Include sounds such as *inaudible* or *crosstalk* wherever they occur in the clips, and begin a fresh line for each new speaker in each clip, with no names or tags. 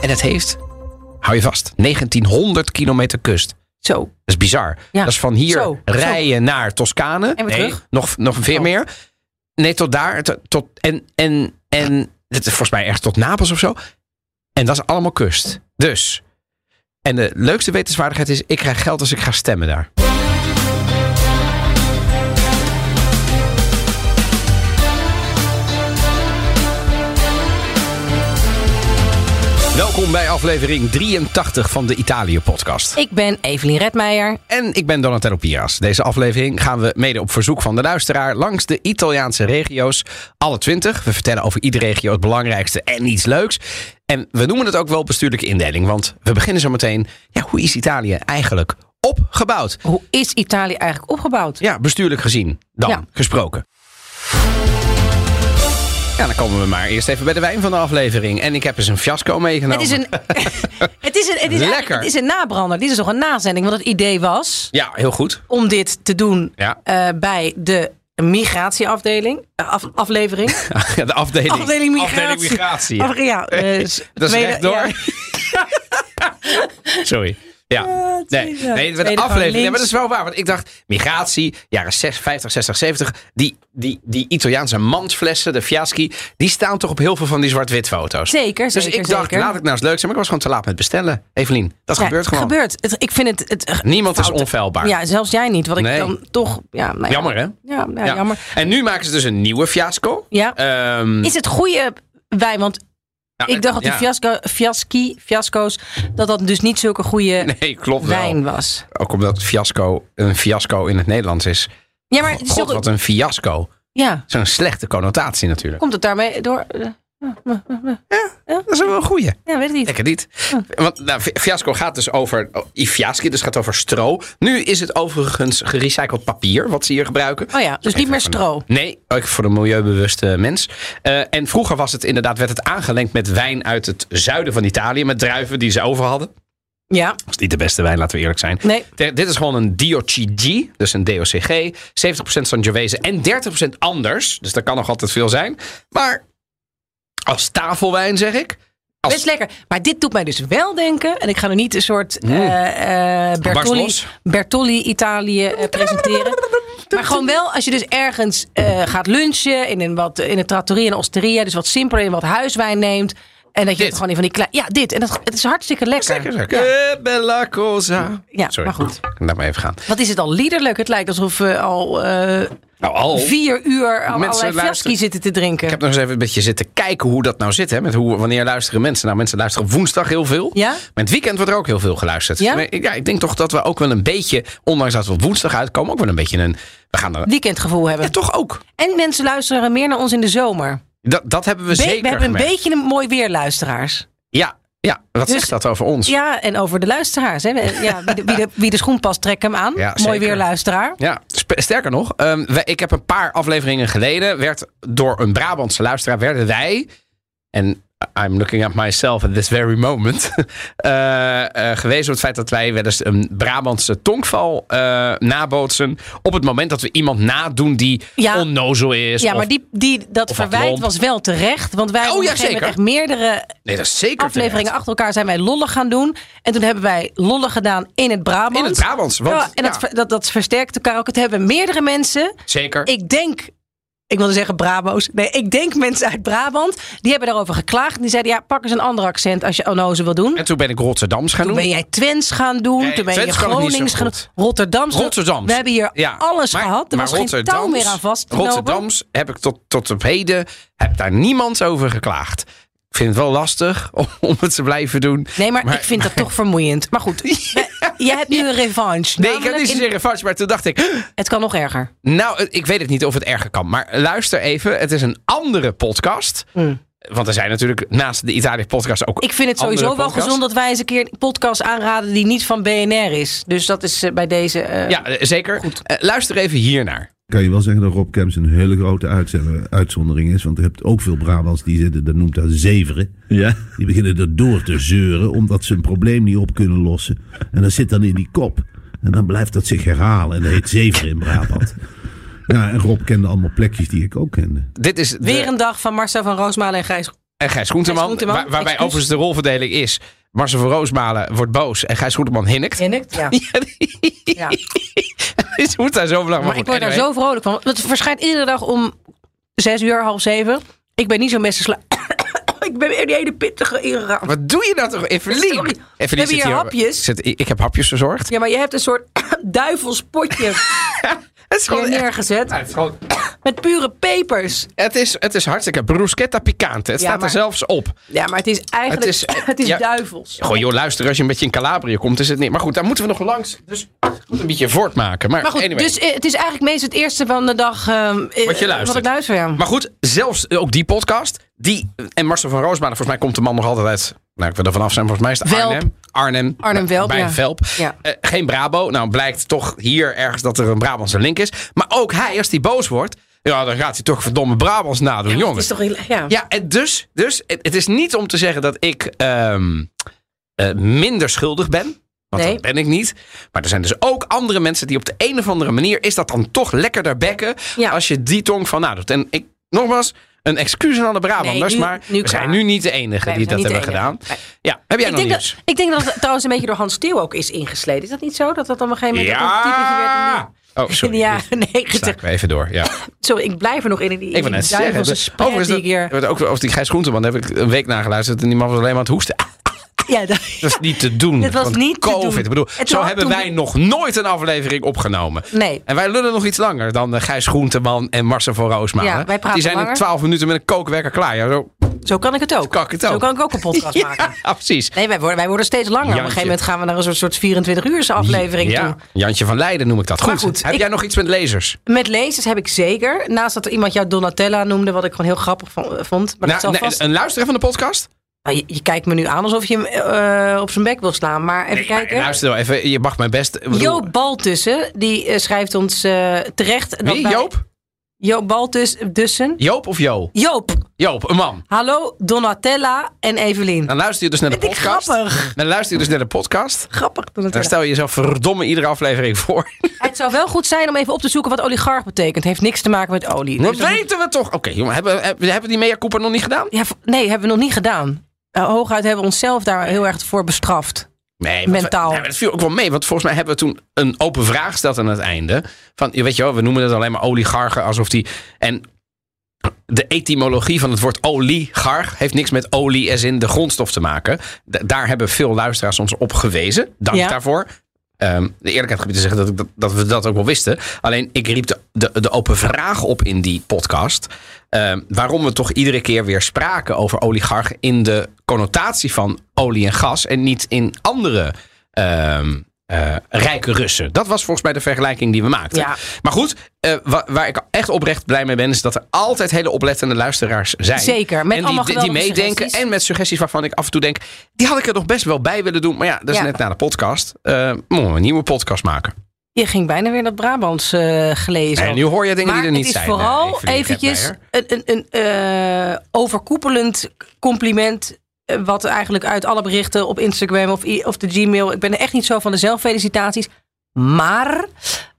En het heeft, hou je vast, 1900 kilometer kust.
Zo.
Dat is bizar.
Ja.
Dat is van hier
Zo,
rijden naar Toscane.
En weer
Nee,
terug.
Nog, nog veel
Oh.
meer. Nee, tot daar. Tot, tot- en, en, en dit is volgens mij echt tot Napels of zo. En dat is allemaal kust. Dus. En de leukste wetenswaardigheid is, ik krijg geld als ik ga stemmen daar. Welkom bij aflevering 83 van de Italië-podcast.
Ik ben Evelien Redmeijer.
En ik ben Donatello Piras. Deze aflevering gaan we mede op verzoek van de luisteraar langs de Italiaanse regio's. Alle twintig. We vertellen over iedere regio het belangrijkste en iets leuks. En we noemen het ook wel bestuurlijke indeling. Want we beginnen zo meteen. Ja, hoe is Italië eigenlijk opgebouwd?
Hoe is Italië eigenlijk opgebouwd?
Ja, bestuurlijk gezien dan
Ja.
gesproken. Ja, dan komen we maar eerst even bij de wijn van de aflevering. En ik heb eens een fiasco meegenomen.
Het is een, *laughs* het is een, het is eigenlijk-
Nou. Lekker.
het is een nabrander. Dit is toch een nazending? Want het idee was
Ja, heel goed.
om dit te doen
Ja. *laughs*
eh, bij de migratieafdeling. eh, af-
*laughs*
aflevering.
De afdeling,
Afdeling migratie.
Afdeling migratie.
Af-
*laughs*
ja, eh, s-
Dat is
tweede-
rechtdoor.
ja.
*laughs* Sorry. Ja.
Ja,
Nee,
tweede-
nee met de
tweede
aflevering.
van
Nee, maar dat
links.
is wel waar. Want ik dacht, migratie, jaren 60, 50, 60, 70. Die, die, die Italiaanse mandflessen, de fiaschi. Die staan toch op heel veel van die zwart-wit foto's.
*laughs* Zeker,
Dus
zeker,
ik dacht,
zeker.
laat ik nou eens leuk zijn. Maar ik was gewoon te laat met bestellen. Evelien, dat
Ja,
gebeurt gewoon.
Gebeurt. Het, ik vind het... het
Niemand is
fouten.
onfeilbaar.
Ja, zelfs jij niet. Wat ik
Nee.
dan toch... Ja, nou ja.
Jammer, hè?
Ja, nou, jammer.
En nu maken ze dus een nieuwe fiasco.
Ja.
Ehm,
Is het goede wij? Want
nou,
ik dacht dat die
ja.
fiasco, fiaschi, fiasco's, dat dat dus niet zulke
*laughs*
goede
Nee, klopt wel.
wijn was.
Ook omdat fiasco een fiasco in het Nederlands is.
Ja, maar het is
God,
toch-
wat een fiasco.
ja,
Zo'n slechte connotatie natuurlijk.
komt het daarmee door? eh,
Dat is wel een goeie.
Ja, weet ik niet.
Lekker niet. Want nou, fi- fiasco gaat dus over. oh, i- Fiaschi, dus gaat over stro. Nu is het overigens gerecycled papier, wat ze hier gebruiken.
Oh ja, dus niet meer stro.
Nee, ook voor de milieubewuste mens. Eh, en vroeger was het inderdaad, werd het aangelengd met wijn uit het zuiden van Italië. Met druiven die ze over hadden.
Ja,
Dat is niet de beste wijn, laten we eerlijk zijn.
Nee.
Ter- dit is gewoon een DOCG, dus een DOCG. 70% Sangiovese en 30% anders. Dus dat kan nog altijd veel zijn. Maar als tafelwijn zeg ik. Als
best lekker. Maar dit doet mij dus wel denken, en ik ga nu niet een soort eh, eh,
Hmm. Barst
Bertolli,
los.
Bertolli Italië eh, presenteren. Maar gewoon wel, als je dus ergens eh, gaat lunchen in een, wat, in een trattoria, in een osteria, dus wat simpeler, in wat huiswijn neemt. En dat je
Dit.
het gewoon in van die kleine... Ja, dit. En dat, het is hartstikke lekker.
Lekker zeg. Eh, bella cosa.
Ja,
Sorry.
maar goed.
Laat maar even gaan.
Wat is het al liederlijk? Het lijkt alsof we al eh,
Nou, al.
vier uur aan allerlei
luisteren.
fiaschi zitten te drinken.
Ik heb nog eens even een beetje zitten kijken hoe dat nou zit. Hè? Met hoe, wanneer luisteren mensen? Nou, mensen luisteren op woensdag heel veel.
Ja?
Maar in het weekend wordt er ook heel veel geluisterd.
Ja?
Maar ik- ja, ik denk toch dat we ook wel een beetje, ondanks dat we op woensdag uitkomen, ook wel een beetje een. We gaan er.
Weekendgevoel hebben.
Ja, toch ook.
En mensen luisteren meer naar ons in de zomer.
Dat, dat hebben we
Be-
zeker.
we hebben een
gemerkt.
beetje een mooi weerluisteraars.
Ja, ja, wat
Dus-
zegt dat over ons?
Ja, en over de luisteraars. Hè. We- Ja, wie, de, wie, de, wie de schoen past, trek hem aan.
Ja,
mooi
zeker.
weerluisteraar.
Ja, sp- sterker nog, ehm, wij- ik heb een paar afleveringen geleden werd door een Brabantse luisteraar werden wij en I'm looking at myself at this very moment *laughs* eh, eh, gewezen op het feit dat wij wel eens een Brabantse tongval eh, nabootsen op het moment dat we iemand nadoen die
Ja.
onnozel is.
Ja,
of-
maar die, die, dat
of wat
verwijt
lomp.
was wel terecht. Want wij hebben
Oh, ja,
op een gegeven moment
zeker.
echt meerdere
nee, dat is zeker
afleveringen achter elkaar zijn wij lollen gaan doen. En toen hebben wij lollen gedaan in het Brabant.
In het Brabants, want-
ja, en dat,
ja.
ver- dat, dat versterkt elkaar ook. Het hebben meerdere mensen.
terecht. Zeker.
Ik denk, ik wilde zeggen Brabo's. Nee, ik denk mensen uit Brabant. Die hebben daarover geklaagd. En die zeiden, ja, pak eens een ander accent als je onnozel wil doen.
En toen ben ik Rotterdams gaan
Toen
doen.
ben jij Twents gaan doen.
Nee,
toen ben
Twents
je
kan ik niet zo
Gronings gaan doen.
goed.
Rotterdams.
Rotterdams.
We hebben hier
Ja,
alles
maar-
gehad. Er
maar
was geen touw
Rotterdams-
meer aan vast te knopen.
Rotterdams heb ik tot, tot op heden heb daar niemand over geklaagd. Ik vind het wel lastig om, om het te blijven doen.
Nee, maar, ik vind dat toch vermoeiend. Maar
*laughs*
goed, we- jij hebt nu een revanche.
Nee, ik heb
Namelijk
niet
in-
zozeer een foutje, maar toen dacht ik... *gasps*
Het kan nog erger.
Nou, ik weet het niet of het erger kan. Maar luister even, het is een andere podcast. Want er zijn natuurlijk naast de Italië-podcast ook
Mm. Ik vind het
andere
sowieso wel
podcasts.
gezond dat wij eens een keer een podcast aanraden die niet van BNR is. Dus dat is eh, bij deze. eh,
Ja, eh, zeker. Eh, luister even hiernaar.
kan je wel zeggen dat Rob Kemps een hele grote uitzender- uitzondering is. Want je hebt ook veel Brabants die zitten, dat noemt dat zeveren.
Ja.
Die beginnen erdoor te zeuren omdat ze een probleem niet op kunnen lossen. En dat zit dan in die kop. En dan blijft dat zich herhalen. En dat heet zeveren in Brabant. Ja, en Rob kende allemaal plekjes die ik ook kende.
Dit is de-
Weer een dag van Marcel van Roosmalen en Gijs
En Gijs Groenteman.
Gijs Groenteman,
waar- waarbij
excuus.
overigens de rolverdeling is. Marcel van Roosmalen wordt boos en Gijs Groenteman *laughs* hinnikt.
Hinnikt, *laughs* ja. ja.
*laughs* Ze moet daar zo lang
Maar ik word daar zo vrolijk van. Want het verschijnt iedere dag om zes uur, half zeven. Ik ben niet zo'n messensla. *coughs* ik ben weer die hele pittige Iraan.
Wat doe je nou toch? Evelien.
Sorry.
Evelien
We hebben
zit
hier hapjes.
zit- ik ik heb hapjes verzorgd.
Ja, maar je hebt een soort *coughs* duivelspotje
Het is, gewoon
hier
echt-
neergezet.
Ja, het, is gewoon-
*coughs* Met pure pepers.
het, is, het is hartstikke bruschetta picante. Het
Ja,
staat
maar-
er zelfs op.
Ja, maar het is eh, eigenlijk...
Het is- ja.
duivels.
Goh, joh, luister, als je een beetje in Calabria komt, is het niet. Maar goed, daar moeten we nog langs. Dus ik moet een beetje voortmaken. Maar,
Maar goed,
anyway.
dus eh, het is eigenlijk meest het eerste van de dag... ehm, eh,
Wat je
Wat ik
luistert.
luister, ja.
Maar goed, zelfs eh, ook die podcast. Die, eh, en Marcel van Roosmalen, volgens mij komt de man nog altijd uit. Nou, ik wil er vanaf zijn, volgens mij is het
Velp.
Arnhem. Arnhem.
Arnhem
bij-
Velp,
Bij
ja.
Velp.
Ja.
Eh, geen Brabo. Nou, blijkt toch hier ergens dat er een Brabantse link is. Maar ook hij, als hij boos wordt, ja, dan gaat hij toch verdomme Brabants nadoen,
Het
jongen.
is toch... heel- Ja.
Ja, en dus, dus het, het is niet om te zeggen dat ik ehm, eh, minder schuldig ben. Want
Nee.
dat ben ik niet. Maar er zijn dus ook andere mensen die op de een of andere manier... is dat dan toch lekkerder bekken
Ja.
als je die tong van nadoet. En ik, nogmaals, een excuus aan alle Brabanders...
Nee, nu-
maar
nu
we zijn
klaar.
nu niet de enige
Nee, we
die
zijn
dat
niet
hebben gedaan.
de enige.
Ja, heb jij
Ik
nog
denk,
nieuws?
dat, ik denk dat het trouwens een beetje door Hans Steeuw ook is ingesleden. Is dat niet zo? Dat dat op een gegeven moment ook een typetje werd in
Ja!
de-
Oh,
in de *laughs*
sorry. Ja.
jaren negentig.
even door,
*laughs*
ja.
Sorry, ik blijf er nog in. in Die,
Ik wil net
die duivelse
zeggen.
spread die ik hier-
Oh, dat, ook over die Gijs Groenteman daar heb ik een week nageluisterd... en die man was alleen maar aan het hoesten.
Ja, dat,
Dat is niet te doen.
Het was
want
niet te
COVID.
doen.
Ik bedoel,
Het
zo
was-
hebben
toen-
wij nog nooit een aflevering opgenomen.
Nee.
En wij lullen nog iets langer dan eh, Gijs Groenteman en Marcel van Roosmalen.
Ja, wij praten
Die zijn in
langer.
twaalf minuten met een kookwerker klaar. Ja,
*laughs*
zo
zo kan ik het ook.
kan ik het ook.
Zo kan ik ook een podcast
*laughs* Ja,
maken.
precies.
Nee, wij worden, wij worden steeds langer. Op een
Jantje.
gegeven moment gaan we naar een soort, soort 24 uurse aflevering
ja,
toe.
Jantje van Leiden noem ik dat. Goed,
Maar goed,
heb
ik-
jij nog iets met lezers?
Met lezers heb ik zeker. Naast dat er iemand jou Donatella noemde, wat ik gewoon heel grappig vo- vond. Maar dat
Nou,
zal
nee,
vast...
Een luisteraar van de podcast?
Nou, je, je kijkt me nu aan alsof je hem eh, op zijn bek wil slaan. Maar even
Maar,
kijken.
Eh, luister wel even, je mag mijn best. ik bedoel,
Joop Baltussen, die eh, schrijft ons eh, terecht. dat
Wie?
wij-
Joop?
Joop Baltussen.
Joop of Jo?
Joop,
Joop, een man.
hallo Donatella en Evelien.
Dan luister je dus naar de
Vind ik
podcast.
grappig.
Dan luister je dus naar de podcast.
Grappig
Dan
Donatella.
stel je jezelf verdomme iedere aflevering voor.
Het zou wel goed zijn om even op te zoeken wat oligarch betekent. Heeft niks te maken met olie.
Dat
Dus dat-
weten we toch? Oké, jongen, hebben, hebben, hebben die mea culpa nog niet gedaan?
Ja, v- nee, hebben we nog niet gedaan. Eh, hooguit hebben we onszelf daar heel erg voor bestraft.
Nee, want we-
Mentaal.
nee, maar dat viel ook wel mee, want volgens mij hebben we toen een open vraag gesteld aan het einde. Van, je weet je wel, we noemen het alleen maar oligarchen alsof die. En de etymologie van het woord oligarch heeft niks met olie als in de grondstof te maken. Da- daar hebben veel luisteraars ons op gewezen. Dank
Ja.
daarvoor. Ehm, de eerlijkheid gebied te zeggen dat, ik dat, dat we dat ook wel wisten. Alleen ik riep de, de, de open vraag op in die podcast. Ehm, waarom we toch iedere keer weer spraken over oligarch in de connotatie van olie en gas. En niet in andere ehm, eh, rijke Russen. Dat was volgens mij de vergelijking die we maakten.
Ja.
Maar goed, eh, wa- waar, ik echt oprecht blij mee ben, is dat er altijd hele oplettende luisteraars zijn.
Zeker, met
en die,
allemaal
die, die
geweldige
meedenken
suggesties.
en met suggesties waarvan ik af en toe denk, die had ik er nog best wel bij willen doen. Maar ja, dat is
Ja.
net na de podcast. Eh moeten we een nieuwe podcast maken.
Je ging bijna weer dat Brabants eh, gelezen.
En nu hoor je dingen
maar
die er niet
het is
zijn. eh,
vooral
Evelien
eventjes
Kepmeijer.
een, een, een eh, overkoepelend compliment. eh, Wat eigenlijk uit alle berichten op Instagram of, i- of de Gmail. Ik ben er echt niet zo van de zelffelicitaties. Maar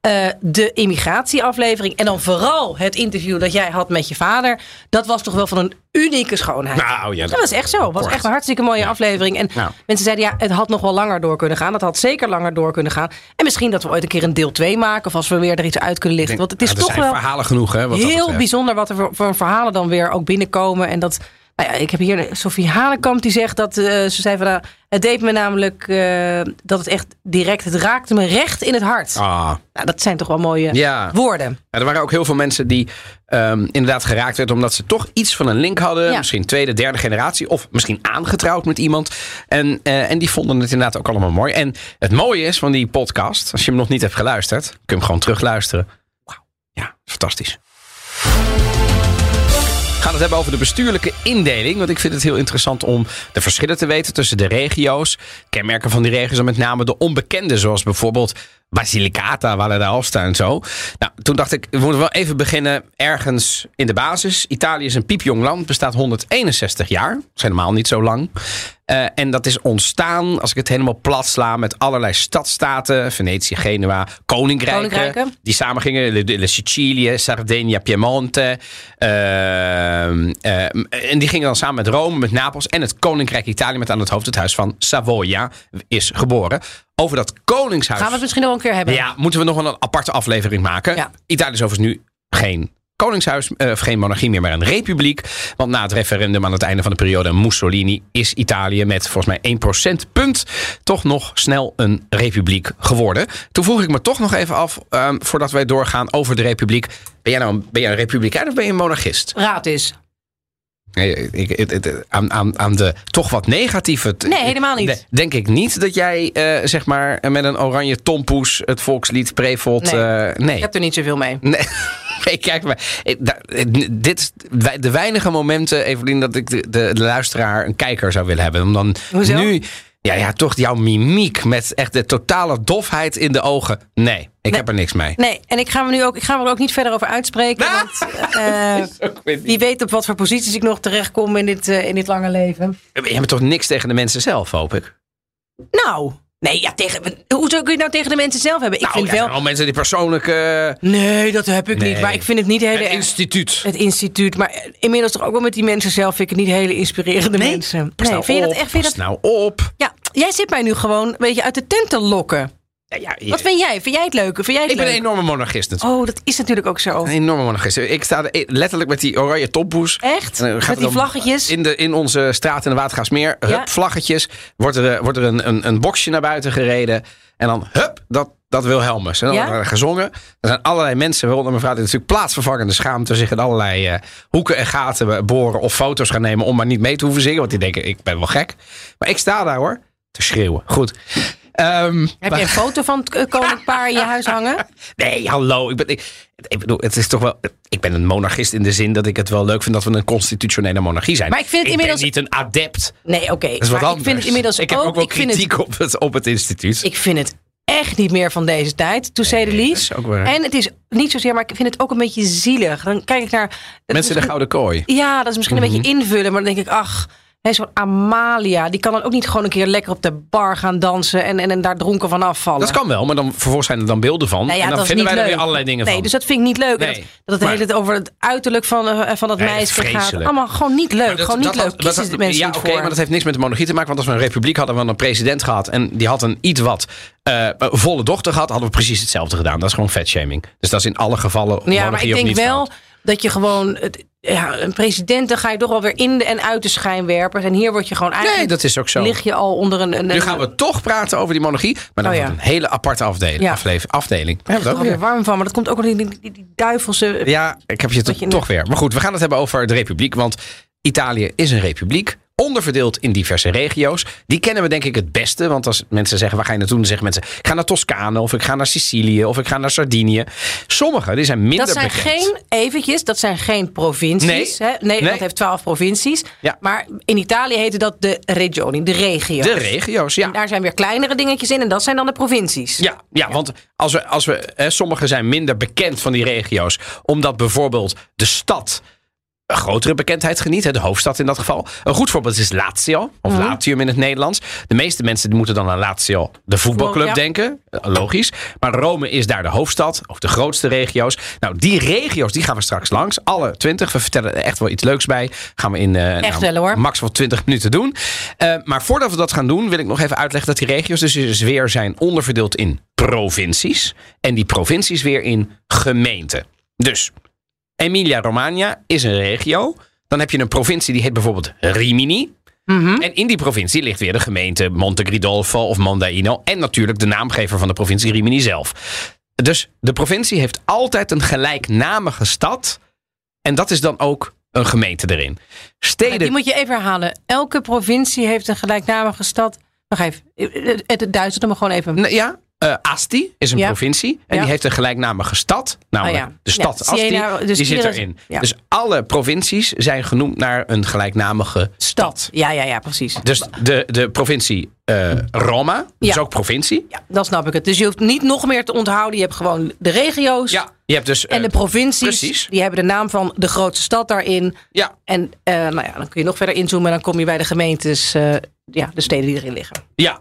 eh, de immigratieaflevering en dan vooral het interview dat jij had met je vader. Dat was toch wel van een unieke schoonheid.
Nou ja,
Dat was echt zo. Het was
kort.
echt een hartstikke mooie aflevering. En
Nou.
mensen zeiden, ja, het had nog wel langer door kunnen gaan. Het had zeker langer door kunnen gaan. En misschien dat we ooit een keer een deel 2 maken. Of als we weer er iets uit kunnen lichten.
Ik denk,
Want het is
nou,
toch
er zijn
wel
verhalen genoeg, hè? Wat dat
heel
betreft.
bijzonder wat er voor, voor verhalen dan weer ook binnenkomen. En dat, nou ja, ik heb hier Sofie Hanekamp die zegt dat, eh, ze zei van, nou, het deed me namelijk, eh, dat het echt direct, het raakte me recht in het hart.
Ah,
Nou, dat zijn toch wel mooie
ja.
woorden.
Ja, er waren ook heel veel mensen die ehm, inderdaad geraakt werden omdat ze toch iets van een link hadden.
Ja.
Misschien tweede, derde generatie of misschien aangetrouwd met iemand. En, eh, en die vonden het inderdaad ook allemaal mooi. En het mooie is van die podcast, als je hem nog niet hebt geluisterd, kun je hem gewoon terugluisteren. Wauw, ja, fantastisch. We gaan het hebben over de bestuurlijke indeling. Want ik vind het heel interessant om de verschillen te weten tussen de regio's. Kenmerken van die regio's en met name de onbekende. Zoals bijvoorbeeld Basilicata, Valle d'Aosta en zo. Nou, toen dacht ik, we moeten wel even beginnen ergens in de basis. Italië is een piepjong land, bestaat 161 jaar. Dat is helemaal niet zo lang. Eh, Eh, en dat is ontstaan, als ik het helemaal plat sla, met allerlei stadstaten. Venetië, Genua, koninkrijken.
Koninkrijken.
Die samen gingen. Le, Le Sicilië, Sardinia, Piemonte. Ehm, ehm, en die gingen dan samen met Rome, met Napels en het koninkrijk Italië. Met aan het hoofd het huis van Savoia is geboren. Over dat koningshuis.
Gaan we het misschien nog wel een keer hebben?
Ja, moeten we nog wel een aparte aflevering maken.
Ja.
Italië is overigens nu geen koningshuis, eh, of geen monarchie meer, maar een republiek. Want na het referendum aan het einde van de periode Mussolini is Italië met volgens mij 1 procentpunt toch nog snel een republiek geworden. Toen vroeg ik me toch nog even af, ehm, voordat wij doorgaan over de republiek. Ben jij nou een, ben jij een republikein of ben je een monarchist?
Raad is.
Nee, ik, het- het- aan, aan, aan de toch wat negatieve... t-
Nee, helemaal niet.
Nee, Denk ik niet dat jij, eh, zeg maar, met een oranje tompoes het volkslied prevelt.
Nee.
eh, nee.
Ik heb er niet zoveel mee.
*laughs* Nee. Nee, kijk maar. Ik- da- Dit is wij- de weinige momenten, Evelien, dat ik de, de, de luisteraar een kijker zou willen hebben. Om dan
Hoezo?
nu. Ja, ja, toch jouw mimiek met echt de totale dofheid in de ogen. Nee, ik heb er niks
*laughs*
mee.
Nee, en ik ga me nu ook, ik ga me er ook niet verder over uitspreken.
Ah!
Want, eh, wie weet op wat voor posities ik nog terechtkom in dit, eh, in dit lange leven.
Je hebt toch niks tegen de mensen zelf, hoop ik?
Nou, nee, ja, tegen, hoe zou ik het nou tegen de mensen zelf hebben? Ik
nou,
vind
ja,
wel.
al mensen die persoonlijke.
Nee, dat heb ik
Nee.
niet. Maar ik vind het niet hele.
Het
erg.
instituut.
Het instituut. Maar eh, inmiddels toch ook wel met die mensen zelf vind ik het niet hele inspirerende
Nee,
mensen.
Pas
Nee,
nou
vind je dat
op,
echt? Vind je
pas
dat,
nou op.
ja, jij zit mij nu gewoon een beetje uit de tent te lokken.
Ja, ja, je-
Wat vind jij? Vind jij het leuk? Vind jij het
ik ben een
leuk?
enorme monarchist natuurlijk.
Oh, dat is natuurlijk ook zo.
Een enorme monarchist. Ik sta er e- letterlijk met die oranje topboes.
Echt?
En dan gaat
Met
er
die
dan
vlaggetjes.
In, de, in onze straat in de Watergaasmeer. Hup,
Ja.
vlaggetjes. Wordt er, eh, wordt er een, een, een boxje naar buiten gereden. En dan hup, dat, dat Wilhelmus. En dan
Ja?
wordt er gezongen. Er zijn allerlei mensen, waaronder mevrouw, die natuurlijk plaatsvervangende schaamte zich in allerlei eh, hoeken en gaten eh, boren of foto's gaan nemen om maar niet mee te hoeven zingen. Want die denken, ik ben wel gek. Maar ik sta daar hoor, te schreeuwen. Goed. Ehm,
Heb je een foto van het eh, koninkpaar in
*laughs*
je huis hangen?
Nee, hallo. Ik, ben, ik, ik bedoel, het is toch wel. Ik ben een monarchist in de zin dat ik het wel leuk vind dat we een constitutionele monarchie zijn.
Maar ik vind het inmiddels-
ben niet een adept.
Nee, oké.
Dat is
maar
wat anders.
ik vind het inmiddels
Ik heb ook wel
ik vind het-
kritiek op, het, op het instituut.
ik vind het echt niet meer van deze tijd. To say the
dat
least.
is ook waar.
En het is niet zozeer, maar ik vind het ook een beetje zielig. Dan kijk ik naar. het
Mensen in de gouden kooi.
Ja, dat is misschien
Mhm.
een beetje invullen, maar dan denk ik, ach, hè, zo'n Amalia, die kan dan ook niet gewoon een keer lekker op de bar gaan dansen en, en, en daar dronken van afvallen.
Dat kan wel, maar dan vervolgens zijn er dan beelden van.
Nou ja,
en dan
dat is
vinden
niet
wij er weer
leuk.
allerlei dingen
nee,
van.
dus dat vind ik niet leuk.
Nee,
dat, dat het
maar-
hele tijd over het uiterlijk van, eh, van dat
Nee,
meisje gaat.
vreselijk.
Allemaal gewoon niet leuk.
Maar dat-
gewoon niet
dat had-
leuk.
dat
Kiezen
had-
de mensen
ja,
niet
oké,
voor.
maar dat heeft niks met de monarchie te maken. Want als we een republiek hadden, hadden we een president gehad. En die had een iets wat eh, eh, volle dochter gehad. Hadden we precies hetzelfde gedaan. Dat is gewoon fatshaming. Dus dat is in alle gevallen.
ja, maar
monarchie
ik
of
denk
niet
wel
fout.
dat je gewoon... Het, ja, een president, dan ga je toch wel weer in de en uit de schijnwerpers. En hier word je gewoon
Nee,
eigenlijk...
dat is ook zo.
lig je al onder een... een
Nu gaan we toch praten over die monarchie. Maar dan
Oh ja.
wordt een hele aparte afdeling.
Ja.
aflever- afdeling. Daar hebben
er
we het
weer
ook weer.
warm van, maar dat komt ook nog die, die, die duivelse...
Ja, ik heb je
Dat je-
het toch weer. Maar goed, we gaan het hebben over de republiek. Want Italië is een republiek. Onderverdeeld in diverse regio's. Die kennen we denk ik het beste. Want als mensen zeggen, waar ga je naartoe? Dan zeggen mensen, ik ga naar Toscane. Of ik ga naar Sicilië. Of ik ga naar Sardinië. Sommige, die zijn minder
Dat zijn
bekend.
geen, eventjes, dat zijn geen provincies.
Nee.
Hè? Nederland
Nee.
heeft twaalf provincies.
Ja.
Maar in Italië heette dat de regioni, de regio.
De regio's, ja.
Daar zijn weer kleinere dingetjes in en dat zijn dan de provincies.
Ja, ja want als we, als we, hè, sommige zijn minder bekend van die regio's. Omdat bijvoorbeeld de stad een grotere bekendheid geniet. Hè, de hoofdstad in dat geval. Een goed voorbeeld is Lazio. Of Latium in het Nederlands. De meeste mensen moeten dan aan Lazio, de voetbalclub,
Ja.
denken. Eh, Logisch. Maar Rome is daar de hoofdstad. Of de grootste regio's. Nou, die regio's die gaan we straks langs. Alle twintig. We vertellen er echt wel iets leuks bij. Gaan we in eh,
Echt wel, hoor.
max wel 20 minuten doen. Eh, maar voordat we dat gaan doen, wil ik nog even uitleggen dat die regio's dus, dus weer zijn onderverdeeld in provincies. En die provincies weer in gemeenten. Dus Emilia-Romagna is een regio. Dan heb je een provincie die heet bijvoorbeeld Rimini.
Mhm.
En in die provincie ligt weer de gemeente Monte Gridolfo of Mondaino. En natuurlijk de naamgever van de provincie Rimini zelf. Dus de provincie heeft altijd een gelijknamige stad. En dat is dan ook een gemeente erin. Steden
Die moet je even herhalen. Elke provincie heeft een gelijknamige stad. Wacht even, het het Duits, doe maar gewoon even.
Nee, ja, eh, Asti is een
Ja.
provincie. En
Ja.
die heeft een gelijknamige stad. Namelijk
Oh ja.
de stad
Ja,
Asti.
Siena, dus
die zit
iedere-
erin.
ja.
Dus alle provincies zijn genoemd naar een gelijknamige stad.
Ja, ja, ja, precies.
Dus de, de provincie eh, Roma is
Ja.
ook provincie.
Ja, dan snap ik het. Dus je hoeft niet nog meer te onthouden. Je hebt gewoon de regio's
Ja, je hebt dus...
en de
eh,
provincies.
precies.
Die hebben de naam van de grootste stad daarin.
ja,
En eh, nou ja, dan kun je nog verder inzoomen en dan kom je bij de gemeentes eh, ja, de steden die erin liggen.
Ja.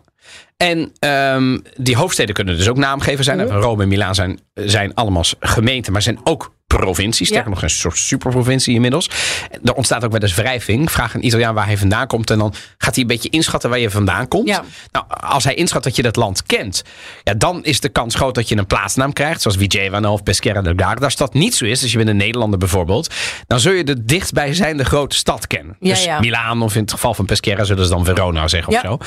En ehm, die hoofdsteden kunnen dus ook naamgever zijn.
Mhm.
Rome en Milaan zijn, zijn allemaal gemeenten, maar zijn ook provincies. Sterker nog, een soort superprovincie inmiddels. Er ontstaat ook wel eens wrijving. Vraag een Italiaan waar hij vandaan komt. En dan gaat hij een beetje inschatten waar je vandaan komt.
Ja.
Nou, als hij inschat dat je dat land kent, ja, dan is de kans groot dat je een plaatsnaam krijgt. Zoals Vigevano of Pescara del Garda. Als dat niet zo is, als je bent een Nederlander bijvoorbeeld, dan zul je de dichtstbijzijnde grote stad kennen.
Ja,
dus
ja.
Milaan of in het geval van Pescara zullen ze dan Verona zeggen of
Ja.
zo.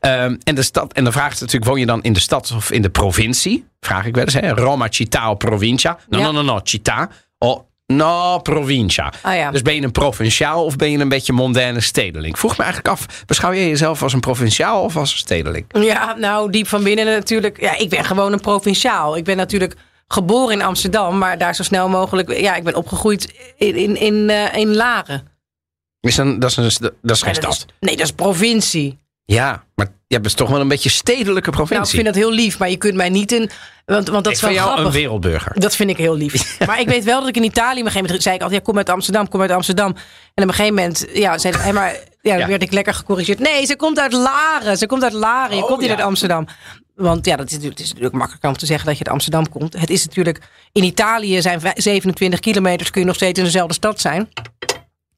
Ehm, en, de stad, en dan vraagt ze natuurlijk, woon je dan in de stad of in de provincie? Vraag ik wel eens. Hè? Roma, città o provincia? No,
Ja.
no, no, no, città. O, no, provincia.
Ah ja.
Dus ben je een provinciaal of ben je een beetje mondaine stedeling? Vroeg me eigenlijk af, beschouw jij jezelf als een provinciaal of als een stedeling?
Ja, nou, diep van binnen natuurlijk. Ja, ik ben gewoon een provinciaal. Ik ben natuurlijk geboren in Amsterdam, maar daar zo snel mogelijk. Ja, ik ben opgegroeid in, in, in, eh, in Laren.
Is dan, dat, is een, dat is geen
Ja, dat
stad.
is- nee, dat is provincie.
Ja, maar je bent toch wel een beetje stedelijke provincie.
Nou, ik vind dat heel lief, maar je kunt mij niet in. Want, want dat
Ik
is wel
vind jou een
grappig.
wereldburger.
Dat vind ik heel
*laughs*
lief. Maar ik weet wel dat ik in Italië op een gegeven moment zei ik altijd, ja, kom uit Amsterdam, kom uit Amsterdam. En op een gegeven moment, ja, zei hij, maar ja, dan
Ja.
werd ik lekker gecorrigeerd. Nee, ze komt uit Laren. Ze komt uit Laren. Je
Oh,
komt niet
ja.
uit Amsterdam. Want ja, dat is, natuurlijk- het is natuurlijk makkelijker om te zeggen dat je uit Amsterdam komt. Het is natuurlijk, in Italië zijn vij- 27 kilometers, kun je nog steeds in dezelfde stad zijn.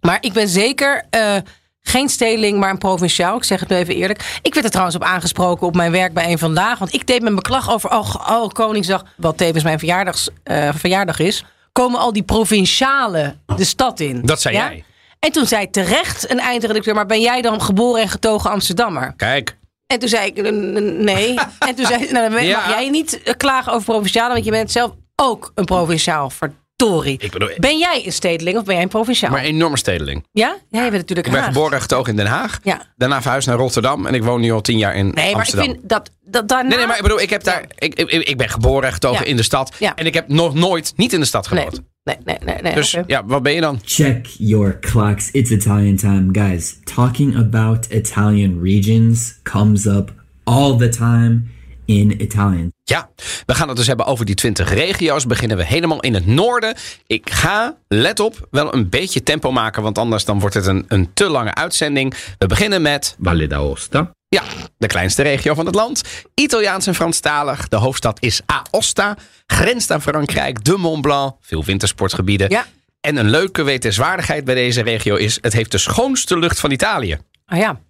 Maar ik ben zeker eh, geen stedeling, maar een provinciaal. Ik zeg het nu even eerlijk. Ik werd er trouwens op aangesproken op mijn werk bij een vandaag. Want ik deed mijn beklag over oh, oh, Koningsdag, wat tevens mijn verjaardags, eh, verjaardag is. Komen al die provincialen de stad in?
Dat zei jij.
En toen zei terecht een eindredacteur: Maar ben jij dan geboren en getogen Amsterdammer?
Kijk,
En toen zei ik: "N- n- Nee. en toen zei
*laughs*
ze: nou, Dan
Ja.
mag jij niet eh, klagen over provincialen, want je bent zelf ook een provinciaal. Verdorie.
ik bedoel, eh,
Ben jij een stedeling of ben jij een provinciaal?
maar een enorme stedeling.
Ja? Ja, je bent natuurlijk
Ik ben
Haag.
geboren en getogen in Den Haag.
Ja.
Daarna verhuisd naar Rotterdam. En ik woon nu al tien jaar in
Nee, maar
Amsterdam.
ik vind dat, dat daarna...
Nee, nee, maar ik bedoel, ik, heb daar, ik, ik, ik ben geboren en getogen
Nou, Ja.
in de stad.
Ja.
En ik heb nog nooit niet in de stad gewoond.
Nee, nee, nee. nee, nee,
Dus
oké.
ja, wat ben je dan?
Check your clocks. It's Italian time. Guys, talking about Italian regions comes up all the time in Italian.
Ja, we gaan het dus hebben over die 20 regio's. Beginnen we helemaal in het noorden. Ik ga, let op, wel een beetje tempo maken. Want anders dan wordt het een, een te lange uitzending. We beginnen met
Valle d'Aosta.
Ja, de kleinste regio van het land. Italiaans en Franstalig. De hoofdstad is Aosta. Grenst aan Frankrijk, de Mont Blanc. Veel wintersportgebieden.
Ja.
En een leuke wetenswaardigheid bij deze regio is... het heeft de schoonste lucht van Italië.
Ah ja,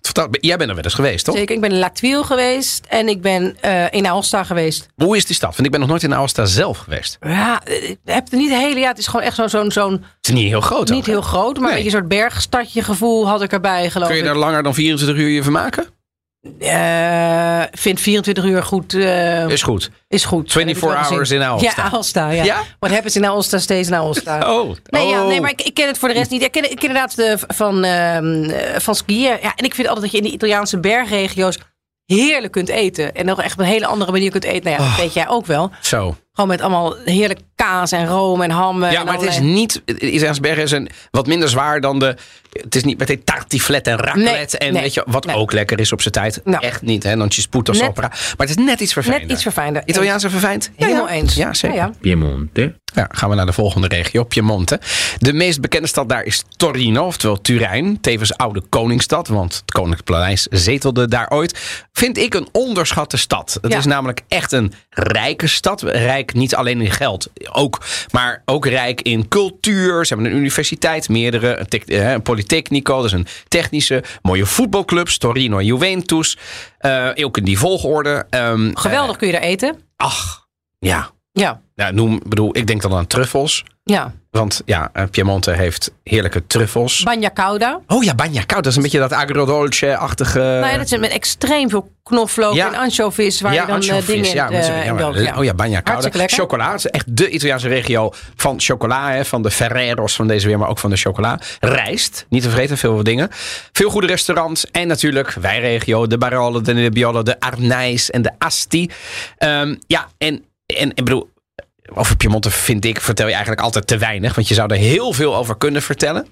Vertel- Jij bent er wel eens geweest, toch?
zeker. Ik ben in Lactuil geweest en ik ben eh, in Aosta geweest.
Hoe is die stad? Want ik ben nog nooit in Aosta zelf geweest.
Ja, eh, ik heb het niet de hele... Ja, het is gewoon echt zo'n... zo'n zo'n
Het is niet heel groot ook,
niet
hè?
heel groot, maar
Nee.
een beetje een soort bergstadje gevoel had ik erbij, geloof
Kun je
ik.
daar langer dan 24 uur je vermaken?
Eh, vind 24 uur goed, eh,
Is goed.
is
24
goed. Heb ik wel
hours
gezien.
in Aosta.
Ja, Aosta, ja.
Ja?
What happens in Aosta stays in Aosta.
*laughs* Oh.
Nee, ja,
oh.
nee maar ik, ik ken het voor de rest niet. Ik ken, ik ken inderdaad de, van, ehm, eh, van skiën. Ja, en ik vind altijd dat je in de Italiaanse bergregio's heerlijk kunt eten. En nog echt op een hele andere manier kunt eten. Nou
Ah.
ja, dat weet jij ook wel.
Zo.
Gewoon met allemaal heerlijk kaas en room en ham. en
Ja, maar het is
allerlei-
niet. Isaansbergen is een wat minder zwaar dan de. Het is niet meteen tartiflet en raclette.
Nee,
en
nee,
weet je, wat
nee.
ook lekker is op zijn tijd.
Nou.
Echt niet, hè? Dan spoed of
Net-
opera. Maar het is net iets verfijnder.
net iets verfijnder.
Italiaanse verfijnd? Ja,
Helemaal
ja.
eens.
Ja, zeker.
Ja,
Ja,
ja.
Piemonte.
gaan we naar de volgende regio, Piemonte. De meest bekende stad daar is Torino, oftewel Turijn. Tevens oude koningsstad, want het Koninklijk Paleis zetelde daar ooit. Vind ik een onderschatte stad. Het
Ja.
is namelijk echt een rijke stad. Rijk niet alleen in geld, ook, maar ook rijk in cultuur. Ze hebben een universiteit, meerdere, een, tec- eh, een polytechnico, dus een technische. Mooie voetbalclubs, Torino en Juventus. Eh, ook in die volgorde. Ehm,
Geweldig kun je daar eten.
eh, ach, ja.
Ja,
Nou, noem, bedoel, ik denk dan aan truffels.
ja.
Want ja, eh, Piemonte heeft heerlijke truffels.
Bagna cauda.
Oh ja, bagna koud. Dat is een beetje dat agrodolce-achtige...
nou ja, dat is met extreem veel knoflook
Eh. Ja.
en anchovies. Waar je dan eh,
anchovies.
dingen in
ja, met
eh,
zo'n- ja,
in
maar-
doopt, ja.
Oh ja, bagna
Hartstikke
cauda.
lekker.
Chocola. Het is echt de Italiaanse regio van chocola. Hè, van de Ferreros van deze weer, maar ook van de chocola. Rijst. Niet te vergeten, veel dingen. Veel goede restaurants. En natuurlijk, wij regio. De Barolo, de Nebbiolo, de Arnijs en de Asti. Ehm, ja, en, en ik bedoel... Over Piemonte vind ik, vertel je eigenlijk altijd te weinig. Want je zou er heel veel over kunnen vertellen.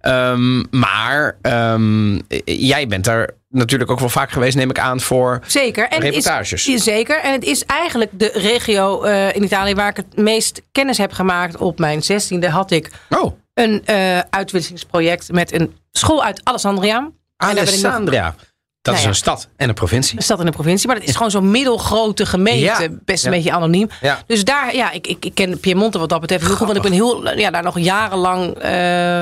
Ehm, maar ehm, jij bent daar natuurlijk ook wel vaak geweest, neem ik aan, voor
Zeker. En het is-
Reportages.
ja, zeker. En het is eigenlijk de regio eh, in Italië waar ik het meest kennis heb gemaakt. Op mijn 16e had ik
Oh,
een eh, uitwisselingsproject met een school uit Alessandria. En daar ben ik nog-
Alessandria. Dat
Nou
is
ja.
een stad en een provincie.
Een stad in een provincie, maar dat is gewoon zo'n middelgrote gemeente.
Ja.
Best een
Ja.
beetje anoniem.
Ja.
Dus daar, ja, ik, ik, ik ken Piemonte wat dat betreft heel goed. Want ik ben heel, eh, ja, daar nog jarenlang... eh,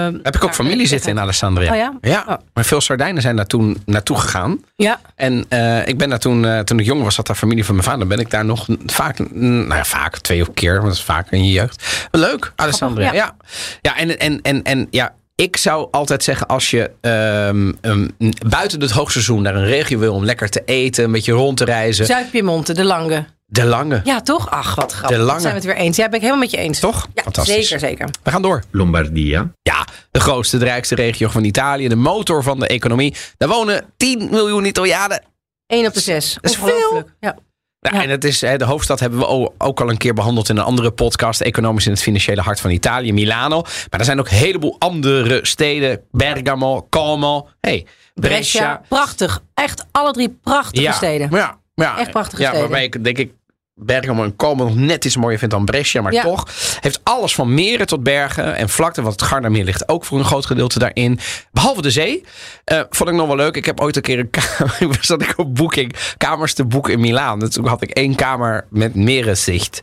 Heb ik ook
daar-
familie zitten in Alessandria.
Oh ja?
Ja,
Oh.
maar veel Sardijnen zijn daar toen naartoe gegaan.
Ja,
En eh, ik ben daar toen, eh, toen ik jong was, zat daar familie van mijn vader. Ben ik daar nog n- vaak, n- nou ja, vaak twee of keer, want dat is vaak in je jeugd. Leuk, Alessandria. Ja,
Grappig,
ja. en, en, en, en ja, ik zou altijd zeggen, als je ehm, ehm, n- buiten het hoogseizoen naar een regio wil om lekker te eten, een beetje rond te reizen.
Zuid-Piemonte, De Lange.
de lange,
Ja, toch? Ach, wat grappig.
De Lange.
Dat zijn we het weer eens. Ja, ben ik helemaal met je eens.
toch?
Ja, zeker, zeker.
We gaan door.
Lombardia,
Ja, de grootste, de rijkste regio van Italië. De motor van de economie. Daar wonen 10 miljoen Italianen.
1 op de 6.
is
Ongelooflijk. Ja.
Ja,
Ja.
En het is, hè, de hoofdstad hebben we o- ook al een keer behandeld in een andere podcast. Economisch in het financiële hart van Italië, Milano. Maar er zijn ook een heleboel andere steden. Bergamo, Como, hey, Brescia.
Brescia. Prachtig. Echt alle drie prachtige
ja,
steden.
Ja, ja,
Echt prachtige
ja,
steden.
Waarbij ik denk ik Bergamo en Como nog net iets mooier vind dan Brescia. Maar
Ja.
toch heeft alles van meren tot bergen en vlakte. Want het Gardameer ligt ook voor een groot gedeelte daarin. Behalve de zee. Eh, vond ik nog wel leuk. Ik heb ooit een keer een kamer... zat *laughs* ik op boeking kamers te boeken in Milaan. En Toen had ik één kamer met merenzicht.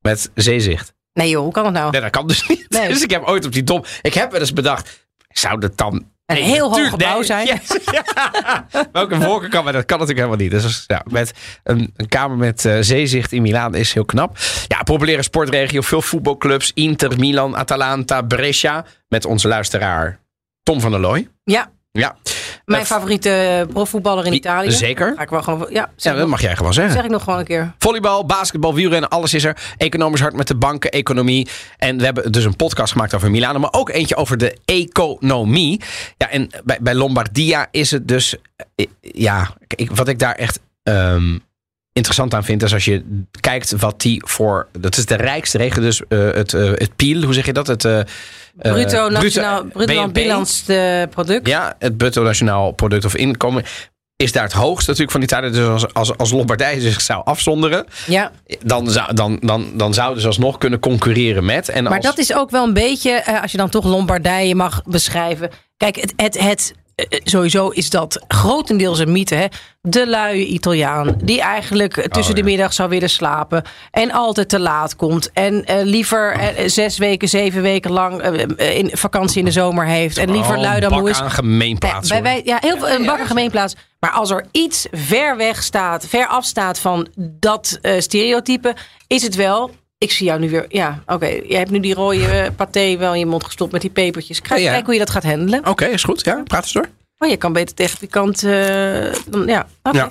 Met zeezicht.
Nee joh, hoe kan dat nou?
Nee, dat kan dus *laughs* niet.
Nee.
Dus ik heb ooit op die dom... Ik heb wel eens bedacht... Zou dat dan...
Een
Nee,
heel hoog
natuurlijk,
gebouw
nee.
zijn.
Yes. *laughs* Welke voorkeur kan, maar dat kan natuurlijk helemaal niet. Dus ja, met een, een kamer met eh, zeezicht in Milaan is heel knap. Ja, populaire sportregio, veel voetbalclubs. Inter, Milan, Atalanta, Brescia. Met onze luisteraar Tom van der Looy.
Ja,
Ja.
mijn
Eh,
favoriete profvoetballer in
i-
Italië.
zeker.
Ga ik wel gewoon... Ja,
Ja,
zeg,
dat
ik nog-
mag jij gewoon zeggen.
zeg ik nog gewoon een keer.
Volleybal, basketbal, wielrennen, alles is er. Economisch hard met de banken, economie. En we hebben dus een podcast gemaakt over Milano, maar ook eentje over de economie. Ja, en bij, bij Lombardia is het dus... eh, Ja, ik, wat ik daar echt ehm, interessant aan vind, is als je kijkt wat die voor... Dat is de rijkste regio, dus eh, het, eh, het PIL, hoe zeg je dat? Het, eh, eh,
Bruto nationaal... Bruto
BNP.
bilans eh, product.
Ja, het bruto nationaal product of inkomen is daar het hoogst natuurlijk van Italië. Dus als, als, als Lombardij zich zou afzonderen
ja.
dan, zou, dan, dan, dan zouden ze alsnog kunnen concurreren met. En
Maar
als,
dat is ook wel een beetje, eh, als je dan toch Lombardije mag beschrijven. Kijk, het, het, het, eh, eh, sowieso is dat grotendeels een mythe. Hè? De luie Italiaan, die eigenlijk eh, tussen
Oh, ja.
de middag zou willen slapen. En altijd te laat komt. En eh, liever eh, zes weken, zeven weken lang eh, eh, in vakantie in de zomer heeft. En liever
Oh,
lui dan
bak
moe is.
aan gemeenplaats.
Bij,
hoor.
wij, ja, heel veel, een bakker gemeenplaats. Maar als er iets ver weg staat, ver afstaat van dat eh, stereotype, is het wel. Ik zie jou nu weer. Ja, oké. Je hebt nu die rode eh, paté wel in je mond gestopt met die pepertjes. Kijk,
Oh, Ja, ja.
kijk hoe je dat gaat handelen.
Oké, is goed. Ja, praat eens door.
Oh, je kan beter tegen die kant. eh, dan, ja, oké.
Ja.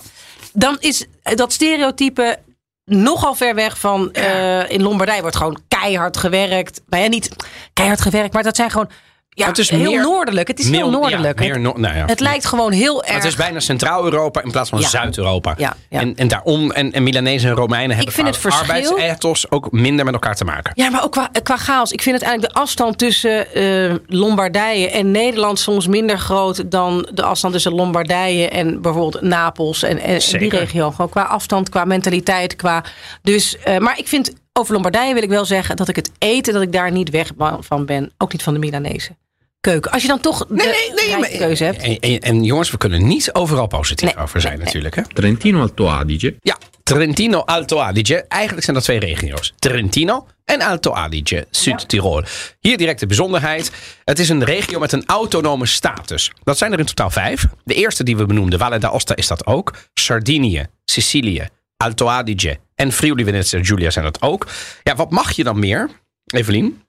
Dan is eh, dat stereotype nogal ver weg van. eh, in Lombardij wordt gewoon keihard gewerkt. Nou ja, niet keihard gewerkt, maar dat zijn gewoon. Ja,
Het is
heel
meer-
noordelijk. Het is heel
Meer-
noordelijk.
Ja, meer
het,
no- nou ja.
het lijkt gewoon heel erg.
het is bijna Centraal-Europa in plaats van
Ja.
Zuid-Europa.
Ja, ja.
En, en daarom, en, en Milanezen en Romeinen hebben
vind het
qua
verschil-
arbeidsethos ook minder met elkaar te maken.
Ja, maar ook qua, qua chaos. Ik vind het eigenlijk de afstand tussen eh, Lombardije en Nederland soms minder groot dan de afstand tussen Lombardije en bijvoorbeeld Napels en, en die
Zeker.
regio. Gewoon qua afstand, qua mentaliteit, qua. Dus, eh, maar ik vind over Lombardije wil ik wel zeggen dat ik het eten dat ik daar niet weg ba- van ben, ook niet van de Milanese keuken. Als je dan toch de rijke keuze hebt.
En, en, en jongens, we kunnen niet overal positief over zijn natuurlijk. Hè?
Trentino Alto Adige,
Ja, Trentino Alto Adige. Eigenlijk zijn dat twee regio's. Trentino en Alto Adige, Zuid-Tirol. Hier direct de bijzonderheid. Het is een regio met een autonome status. Dat zijn er in totaal vijf. De eerste die we benoemden, Valle d'Aosta, is dat ook. Sardinië, Sicilië, Alto Adige en Friuli Venezia Giulia zijn dat ook. Ja, wat mag je dan meer, Evelien?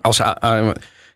Als, eh, eh,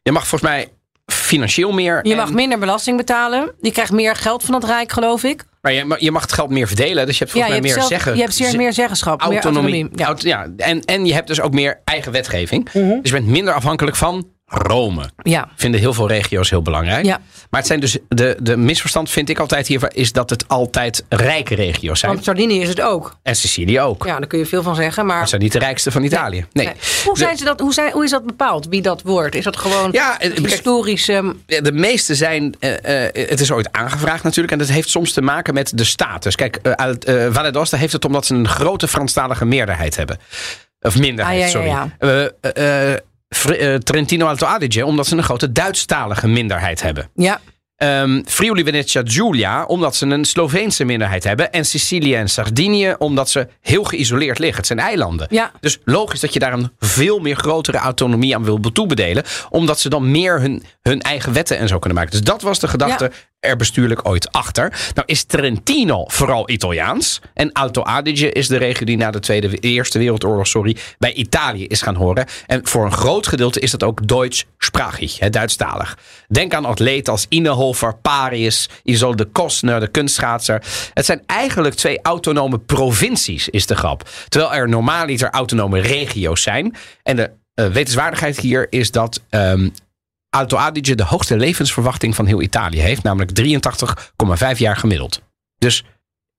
je mag volgens mij financieel meer.
Je
en-
mag minder belasting betalen. Je krijgt meer geld van het Rijk, geloof ik.
maar je, mag- je mag het geld meer verdelen. Dus je hebt volgens
je
mij meer
hebt, zelf-
zeggen.
je hebt zeer
ze-
meer zeggenschap.
autonomie.
Meer autonomie. Ja. Mhm.
Aut- ja. en, en je hebt dus ook meer eigen wetgeving. Dus je bent minder afhankelijk van Rome.
ja.
Vinden heel veel regio's heel belangrijk.
Ja.
Maar het zijn dus de, de misverstand vind ik altijd hiervan is dat het altijd rijke regio's zijn.
Want Sardinië is het ook.
En Sicilië ook.
Ja, daar kun je veel van zeggen, maar...
Het zijn niet de rijkste van Italië. Nee. Dus-
Nee. Hoe, zijn ze dat, hoe, zijn, hoe is dat bepaald, wie dat wordt? Is dat gewoon
Ja, eh, kijk,
historisch... ehm,
Ja, de meeste zijn. eh, eh, het is ooit aangevraagd natuurlijk. En dat heeft soms te maken met de status. Kijk, eh uit- eh, Valle d'Aosta heeft het omdat ze een grote Franstalige meerderheid hebben. Of minderheid,
Ah, ja,
sorry.
ja,
Eh, eh, eh, Fr- eh, Trentino Alto Adige, omdat ze een grote Duitsstalige minderheid hebben.
ja,
ehm Friuli Venezia Giulia, omdat ze een Sloveense minderheid hebben. En Sicilië en Sardinië, omdat ze heel geïsoleerd liggen. Het zijn eilanden.
Ja.
Dus logisch dat je daar een veel meer grotere autonomie aan wil toebedelen. Omdat ze dan meer hun, hun eigen wetten en zo kunnen maken. Dus dat was de gedachte er bestuurlijk ooit achter. Nou is Trentino vooral Italiaans. En Alto Adige is de regio die na de Tweede, Eerste Wereldoorlog sorry, bij Italië is gaan horen. En voor een groot gedeelte is dat ook Deutsch-sprachig, hè, Duitsstalig. Denk aan atleten als Innehofer, Parius, Isol de Kostner, de kunstschaatser. Het zijn eigenlijk twee autonome provincies, is de grap. Terwijl er normaaliter autonome regio's zijn. En de eh, wetenswaardigheid hier is dat ehm, Alto Adige de hoogste levensverwachting van heel Italië heeft, namelijk 83,5 jaar gemiddeld. Dus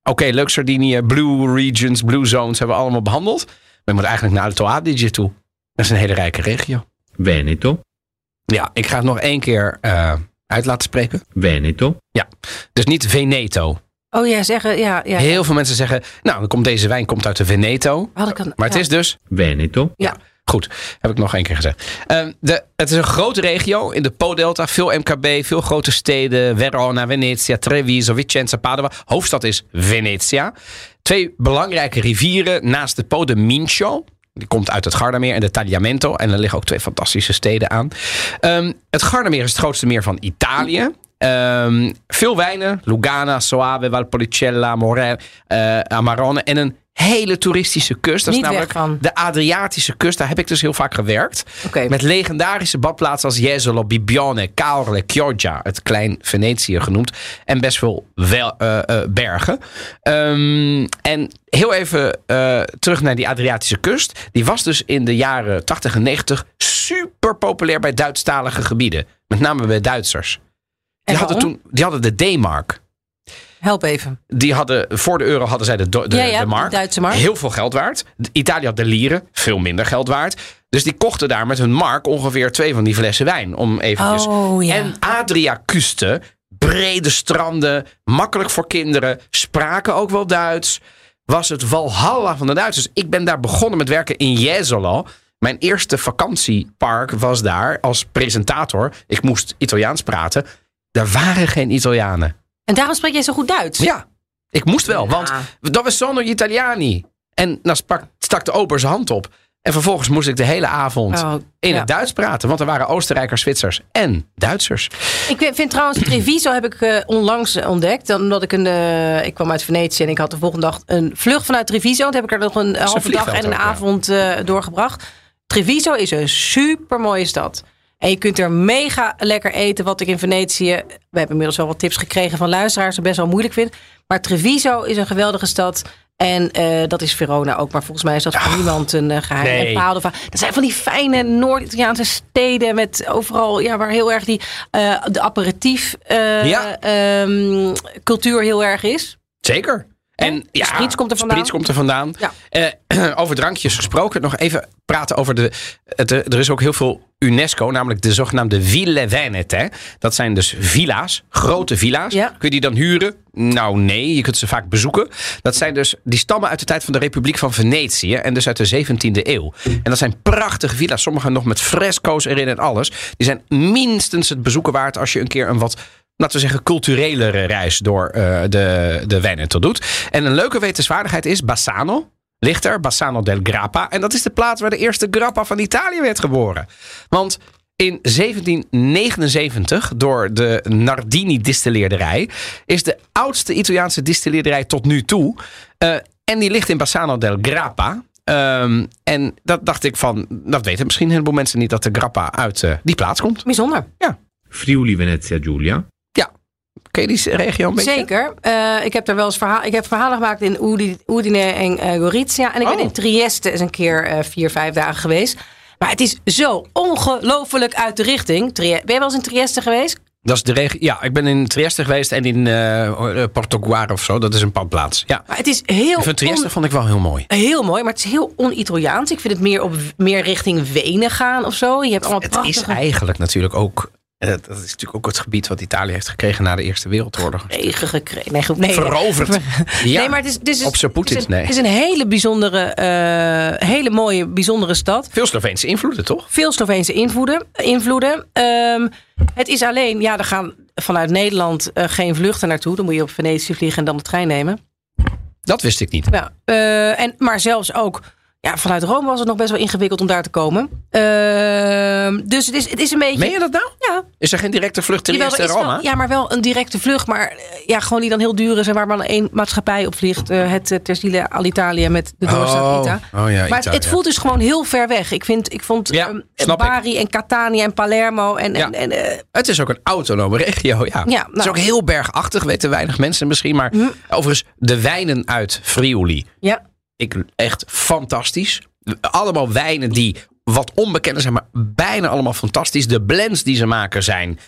oké, leuk Sardinië, Blue Regions, Blue Zones hebben we allemaal behandeld. Maar je moet eigenlijk naar Alto Adige toe. Dat is een hele rijke regio.
Veneto,
Ja, ik ga het nog één keer eh, uit laten spreken.
Veneto,
Dus niet Veneto.
Oh ja, zeggen, ja. ja.
Heel veel mensen zeggen, nou, dan komt deze wijn komt uit de Veneto.
Had ik dan-
Maar het
ja.
is dus
Veneto,
Goed, heb ik nog één keer gezegd. Ehm, de, het is een grote regio in de Po-delta. Veel MKB, veel grote steden. Verona, Venetia, Treviso, Vicenza, Padua. Hoofdstad is Venetia. Twee belangrijke rivieren naast de Po, de Mincio. Die komt uit het Gardameer en de Tagliamento. En er liggen ook twee fantastische steden aan. Ehm, het Gardameer is het grootste meer van Italië. Ehm, veel wijnen. Lugana, Soave, Valpolicella, Morè, eh, Amarone. En een hele toeristische kust. Dat is
Niet weg
namelijk
van.
de Adriatische kust, daar heb ik dus heel vaak gewerkt.
Oké.
Met legendarische badplaatsen als Jesolo, Bibione, Caorle, Chioggia, het klein Venetië genoemd. En best veel wel, eh, eh, bergen. Ehm, en heel even eh, terug naar die Adriatische kust. Die was dus in de jaren 80 en 90 super populair bij Duitsstalige gebieden. Met name bij Duitsers. Die
En
hadden,
waarom?
toen, die hadden de D-mark.
Help even.
Die hadden, voor de euro hadden zij de, do- de,
Ja, ja,
de mark.
de Duitse mark.
Heel veel geld waard. Italië had de lieren, veel minder geld waard. Dus die kochten daar met hun mark ongeveer twee van die flessen wijn. Om eventjes.
Oh, ja.
En Adria Custe, brede stranden, makkelijk voor kinderen, spraken ook wel Duits. Was het Walhalla van de Duitsers. Dus Ik ben daar begonnen met werken in Jezolo. Mijn eerste vakantiepark was daar als presentator. Ik moest Italiaans praten. Er waren geen Italianen.
En daarom spreek jij zo goed Duits.
Ja, ik moest wel,
Ja.
want dat was sono gli Italiani. En dan sprak, stak de ober zijn hand op. En vervolgens moest ik de hele avond
Oh,
in
ja.
het Duits praten. Want er waren Oostenrijkers, Zwitsers en Duitsers.
Ik vind
*clears throat*
trouwens Treviso heb ik eh, onlangs ontdekt. Omdat ik een. eh, ik kwam uit Venetië en ik had de volgende dag een vlucht vanuit Treviso. Toen heb ik er nog een halve dag en
vliegveld
een
ook, ja.
avond eh, doorgebracht. Treviso is een super mooie stad. En je kunt er mega lekker eten. Wat ik in Venetië. We hebben inmiddels wel wat tips gekregen van luisteraars. Dat best wel moeilijk vind. Maar Treviso is een geweldige stad. En eh, dat is Verona ook. Maar volgens mij is dat voor niemand een eh, geheim.
Ah. nee.
En Padova. Dat zijn van die fijne Noord-Italiaanse steden. Met overal, ja, waar heel erg die, eh, de aperitief eh,
Ja.
ehm, cultuur heel erg is.
Zeker. En ja,
Spritz komt er vandaan.
Spritz komt er vandaan.
Ja.
Eh, *clears throat* over drankjes gesproken, nog even praten over de, het, eh, Er is ook heel veel UNESCO, namelijk de zogenaamde Ville Venete. Dat zijn dus villa's, grote villa's.
Ja.
Kun je die dan huren? Nou, nee, je kunt ze vaak bezoeken. Dat zijn dus, die stammen uit de tijd van de Republiek van Venetië en dus uit de 17e eeuw. En dat zijn prachtige villa's, sommige nog met fresco's erin en alles. Die zijn minstens het bezoeken waard als je een keer een wat laten we zeggen, culturelere reis door eh, de, de Veneto doet. En een leuke wetenswaardigheid is Bassano. Ligt er, Bassano del Grappa. En dat is de plaats waar de eerste Grappa van Italië werd geboren. Want in 1779, door de Nardini-distilleerderij, is de oudste Italiaanse distilleerderij tot nu toe. Eh, en die ligt in Bassano del Grappa. Ehm, en dat dacht ik van, dat weten misschien een heleboel mensen niet, dat de Grappa uit eh, die plaats komt.
Bijzonder.
Friuli Venezia Giulia,
Ken je die regio een beetje?
Zeker. Eh, ik heb daar wel eens verhaal, ik heb verhalen gemaakt in Udi- Udine en eh, Gorizia. En ik
Oh.
ben in Trieste eens een keer eh, vier, vijf dagen geweest. Maar het is zo ongelooflijk uit de richting. Trie- ben je wel eens in Trieste geweest?
Dat is de regio. Ja, ik ben in Trieste geweest en in eh Portoguar of zo. Dat is een padplaats. Ja.
Maar het is heel
Ik vind Trieste
on-
vond ik wel heel mooi.
Heel mooi, maar het is heel on-Italiaans. Ik vind het meer, op, meer richting Wenen gaan of zo. Je hebt allemaal
Het is
prachtige...
eigenlijk natuurlijk ook En dat, dat is natuurlijk ook het gebied wat Italië heeft gekregen na de Eerste Wereldoorlog.
Regen gekregen. Nee, goed, nee.
Veroverd. Ja.
Nee, maar het is, het is,
Op zijn Poetin,
het is een,
nee.
het is een hele bijzondere, eh, hele mooie, bijzondere stad.
Veel Sloveense invloeden, toch?
Veel Sloveense invloeden. invloeden. Ehm, het is alleen, ja, er gaan vanuit Nederland eh, geen vluchten naartoe. Dan moet je op Venetië vliegen en dan de trein nemen.
Dat wist ik niet.
Ja, eh, en, maar zelfs ook ja, vanuit Rome was het nog best wel ingewikkeld om daar te komen. Ehm, dus het is, het is een beetje.
Meen je dat nou?
Ja,
Is er geen directe vlucht ten
jawel, er
eerste
is
Rome?
wel- ja, maar wel een directe vlucht. Maar eh, ja, gewoon die dan heel duur is en waar maar één maatschappij op vliegt. eh, het eh, Terzile Alitalia met de doorstart Ita.
oh ja,
Maar het,
Italië.
het voelt dus gewoon heel ver weg. Ik, vind, ik vond
Ja,
ehm,
snap ik.
Bari en Catania en Palermo en, en,
Ja.
en, eh,
Het is ook een autonome regio, ja.
Ja,
Het is
nou. Hm.
ook heel bergachtig, weten weinig mensen misschien. Maar overigens, de wijnen uit Friuli.
ja.
Ik, echt fantastisch. Allemaal wijnen die wat onbekend zijn, maar bijna allemaal fantastisch. De blends die ze maken zijn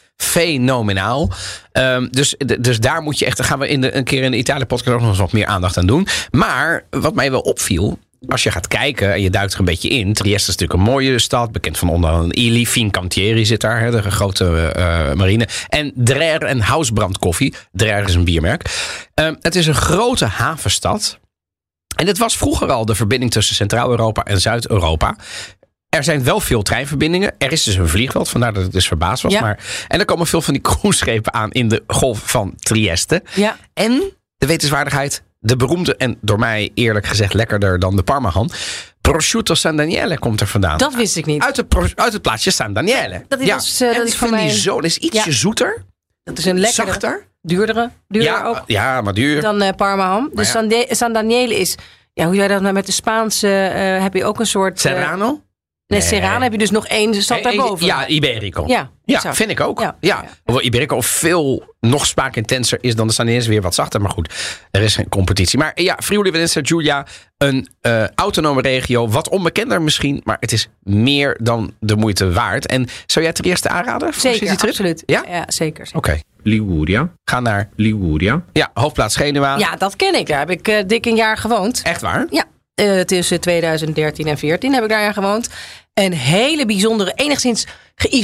fenomenaal. Ehm, dus, dus daar moet je echt... Daar gaan we in de, een keer in de Italië-podcast ook nog eens wat meer aandacht aan doen. Maar wat mij wel opviel... Als je gaat kijken en je duikt er een beetje in. Trieste is natuurlijk een mooie stad. Bekend van onder andere Ili. Fincantieri zit daar. Hè, de grote eh, marine. En Drer en Housbrand koffie. Drer is een biermerk. Ehm, het is een grote havenstad. En dit was vroeger al de verbinding tussen Centraal-Europa en Zuid-Europa. Er zijn wel veel treinverbindingen. Er is dus een vliegveld, vandaar dat ik dus verbaasd was.
Ja.
Maar, en er komen veel van die cruiseschepen aan in de golf van Trieste.
ja.
En de wetenswaardigheid, de beroemde en door mij eerlijk gezegd lekkerder dan de Parmahan. Prosciutto San Daniele komt er vandaan.
dat wist ik niet.
Uit, het pro- uit het plaatsje San Daniele.
Dat is- dat is, eh,
en
dat is
ik
voor
vind die
mij-
zo, dat is ietsje
Ja.
zoeter,
Dat is een lekkere,
zachter.
duurdere, duurder
Ja,
ook.
ja, maar duur.
dan eh Parma ham. Dus
ja.
San, De- San Daniele is. Ja, hoe jij dat nou met de Spaanse. eh, heb je ook een soort. eh,
Serrano?
nee, Serrano heb je dus nog één stad
Eh, eh,
daarboven.
Ja, Iberico.
ja,
Ja,
exact.
vind ik ook. Ja.
Ja.
Hoewel Iberico veel nog spaakintenser is dan de Sanese weer wat zachter. Maar goed, er is geen competitie. Maar ja, Friuli, Venezia, Giulia, een eh, autonome regio. Wat onbekender misschien, maar het is meer dan de moeite waard. En zou jij het eerste aanraden? voor een
Zeker,
citytrip?
absoluut.
Ja?
ja zeker. zeker.
Oké,
Liguria,
ga naar
Liguria,
ja, hoofdplaats Genua.
Ja, dat ken ik. Daar heb ik eh, dik een jaar gewoond.
Echt waar?
Ja, eh, tussen 2013 en 2014 heb ik daar aan gewoond. Een hele bijzondere, enigszins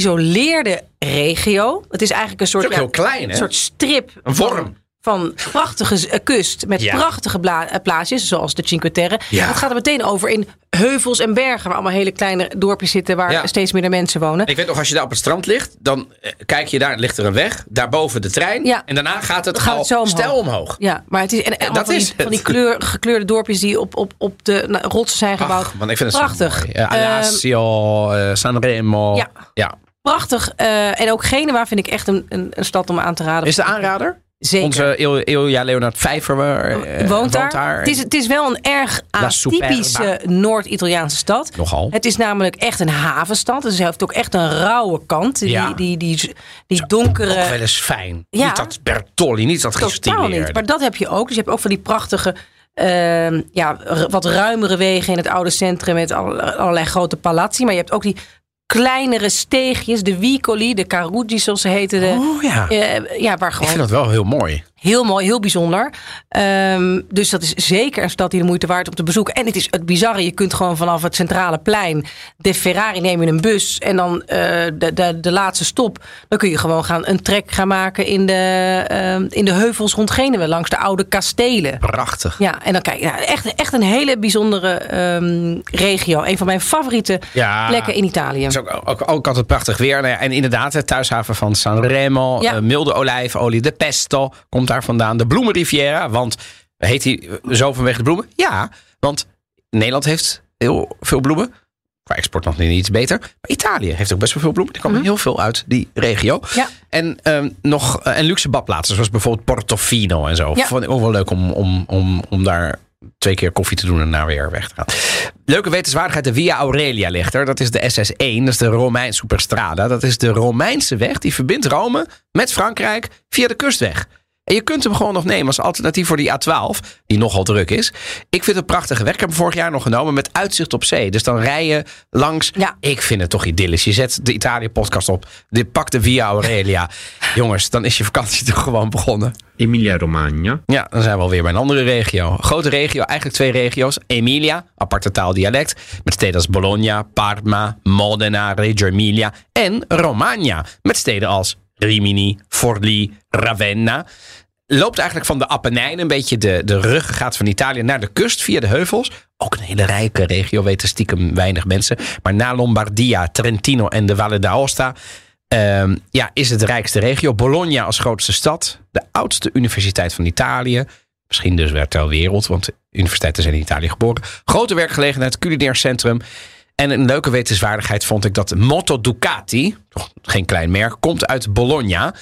geïsoleerde regio. Het is eigenlijk een soort,
Het is ook heel klein, hè?
een soort strip.
Een vorm.
Van prachtige z- eh, kust met
Ja.
prachtige bla- eh, plaatsjes, zoals de Cinque Terre.
Ja.
Het gaat er meteen over in heuvels en bergen, waar allemaal hele kleine dorpjes zitten waar
Ja.
steeds minder mensen wonen.
Ik weet nog, als je daar op het strand ligt, dan eh, kijk je daar, ligt er een weg. Daarboven de trein.
Ja.
En daarna gaat het,
Dan gaat
al
het zo omhoog.
stijl omhoog.
Ja, maar het is, en, allemaal
dat
van die,
is het.
Van die kleur, gekleurde dorpjes die op, op, op de nou, rotsen zijn gebouwd.
Ach, man, ik vind het
Prachtig. Ehm,
Zo mooi. Eh, Alassio, eh, Sanremo.
Ja.
ja.
Prachtig. eh, en ook Genua vind ik echt een, een, een stad om aan te raden.
Is de aanrader?
Zeker.
Onze Il- Ilja Leonard Vijver eh,
woont, daar. Het, is, het is wel een erg
La
atypische
Superba.
Noord-Italiaanse stad.
Nogal.
Het is namelijk echt een havenstad. Dus hij heeft ook echt een rauwe kant. Die,
Ja.
die, die, die,
Ook
donkere...
wel eens fijn.
eh, Ja.
Niet dat Bertolli, niet dat
Totaal niet. Maar
gestileerde.
dat heb je ook. Dus je hebt ook van die prachtige... ehm, ja, r- wat ruimere wegen in het oude centrum met alle- allerlei grote palazzi. Maar je hebt ook die kleinere steegjes, de Vicoli, de Carugi, zoals ze heten. De,
Oh ja.
eh, ja, waar
Ik
gewoon
vind dat wel heel mooi.
Heel mooi, heel bijzonder. Ehm, dus dat is zeker een stad die de moeite waard om te bezoeken. En het is het bizarre, je kunt gewoon vanaf het centrale plein de Ferrari nemen in een bus. En dan eh, de, de, de laatste stop, dan kun je gewoon gaan een trek gaan maken in de, ehm, in de heuvels rond Genewe, langs de oude kastelen.
Prachtig.
Ja, en dan kijk je, ja, echt, echt een hele bijzondere ehm, regio. Een van mijn favoriete
Ja.
plekken in Italië.
Het is ook, ook, ook altijd prachtig weer. Nou ja, En inderdaad, het thuishaven van Sanremo.
Ja.
eh, milde olijfolie, de pesto komt daar vandaan. De bloemenriviera, want heet die eh, zo vanwege de bloemen? Ja, want Nederland heeft heel veel bloemen. Qua export nog niet iets beter. Maar Italië heeft ook best wel veel bloemen. Er komen heel veel uit die regio.
Mhm. Ja.
En, ehm, nog, eh, en luxe badplaatsen, zoals bijvoorbeeld Portofino en zo.
Ja.
Vond ik ook wel leuk om, om, om, om daar twee keer koffie te doen en daarna weer weg te gaan. Leuke wetenswaardigheid, de Via Aurelia ligt er. Dat is de SS1, dat is de Romein Superstrada. Dat is de Romeinse weg, die verbindt Rome met Frankrijk via de kustweg. En je kunt hem gewoon nog nemen als alternatief voor die A12, die nogal druk is. Ik vind het een prachtige weg. Ik heb hem vorig jaar nog genomen met uitzicht op zee. Dus dan rij je langs.
Ja.
Ik vind het toch idyllisch. Je zet de Italië-podcast op, je pakt de Via Aurelia. Jongens, dan is je vakantie toch gewoon begonnen.
Emilia-Romagna,
Ja, dan zijn we alweer bij een andere regio. Grote regio, eigenlijk twee regio's. Emilia, aparte taaldialect, met steden als Bologna, Parma, Modena, Reggio Emilia en Romagna, met steden als Rimini, Forlì, Ravenna. Loopt eigenlijk van de Appenijnen, een beetje de, de ruggengraat van Italië, naar de kust via de heuvels. Ook een hele rijke regio, weten stiekem weinig mensen. Maar na Lombardia, Trentino en de Valle d'Aosta Ehm, ja, is het de rijkste regio. Bologna als grootste stad. De oudste universiteit van Italië. Misschien dus weer ter wereld, want universiteiten zijn in Italië geboren. Grote werkgelegenheid, culinair centrum. En een leuke wetenswaardigheid vond ik dat Moto Ducati, toch geen klein merk, komt uit Bologna. Een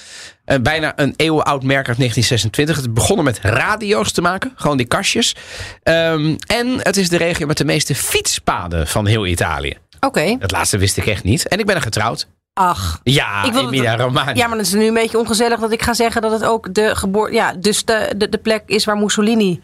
Eh, bijna een eeuwenoud merk uit 1926. Het begonnen met radio's te maken, gewoon die kastjes. Ehm, en het is de regio met de meeste fietspaden van heel Italië.
Oké.
Dat laatste wist ik echt niet. En ik ben er getrouwd.
Ach.
Ja,
Ik wil het-
Emilia Romagna.
Ja, maar het is nu een beetje ongezellig dat ik ga zeggen dat het ook de geboorte. Ja, dus de, de, de plek is waar Mussolini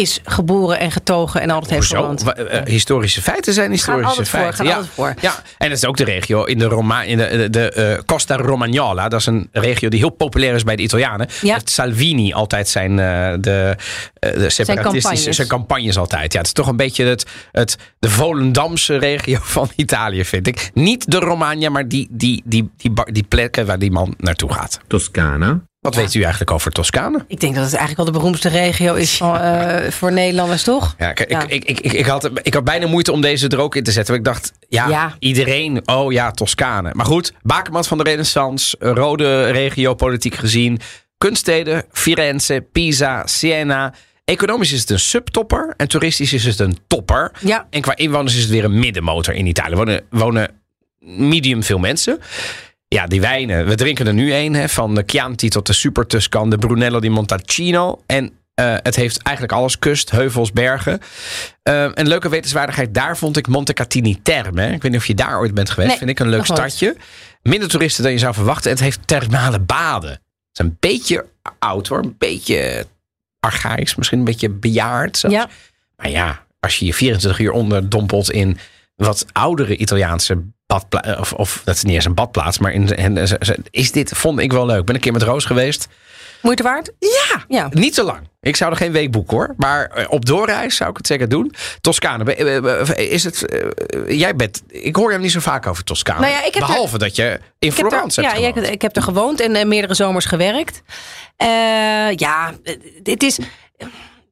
is geboren en getogen en altijd heeft
Hoezo?
gewoond.
Wa- eh, eh, historische feiten zijn historische
altijd voor,
feiten.
gaan
ja.
altijd voor.
ja, en dat is ook de regio in de, Roma, in de, de, de, eh, Costa Romagnola. Dat is een regio die heel populair is bij de Italianen.
Ja.
Dat Salvini altijd zijn, eh, de, eh, de separatistische
campagnes.
zijn campagnes altijd. Ja, het is toch een beetje het, het, de Volendamse regio *laughs* van Italië, vind ik. Niet de Romagna, maar die, die, die, die, ba- die plekken waar die man naartoe gaat.
Toscana,
Wat weet u eigenlijk over Toscane?
Ik denk dat het eigenlijk wel de beroemdste regio is van, eh, voor Nederlanders, toch?
Ja, ik,
Ja.
Ik, ik, ik, ik, had, ik had bijna moeite om deze er ook in te zetten. Want ik dacht, ja,
Ja.
iedereen. Oh ja, Toscane. Maar goed, Bakermat van de Renaissance. eh, Rode regio, politiek gezien. Kunststeden, Firenze, Pisa, Siena. Economisch is het een subtopper. En toeristisch is het een topper.
Ja.
En qua inwoners is het weer een middenmotor in Italië. Er wonen, wonen medium veel mensen. Ja, die wijnen. We drinken er nu één. hè, Van de Chianti tot de Super Tuscan. De Brunello di Montalcino. En eh, het heeft eigenlijk alles. Kust, heuvels, bergen. Eh, een leuke wetenswaardigheid daar vond ik Montecatini Terme. Ik weet niet of je daar ooit bent geweest.
Nee,
vind ik een leuk
nog nooit.
stadje. Minder toeristen dan je zou verwachten. En het heeft thermale baden. Het is een beetje oud hoor. Een beetje archaïs. Misschien een beetje bejaard zelfs.
Ja.
Maar ja, als je je 24 uur onderdompelt in wat oudere Italiaanse badplaats. Of, of dat is niet eens een badplaats, maar in, en, ze- ze- is dit, vond ik wel leuk. Ik ben een keer met Roos geweest.
Moeite waard?
Ja,
Ja.
niet te lang. Ik zou er geen weekboek hoor. Maar eh, op doorreis zou ik het zeker doen. Toscane, ben- eh, eh, is het. eh, Jij bent. Ik hoor hem niet zo vaak over Toscane.
Nou ja, ik heb er-
Behalve dat je in
Ik heb, er,
Florence
ja,
hebt.
ja, ik,
gewoond.
ik heb er gewoond en eh, meerdere zomers gewerkt. Eh, ja, eh, dit is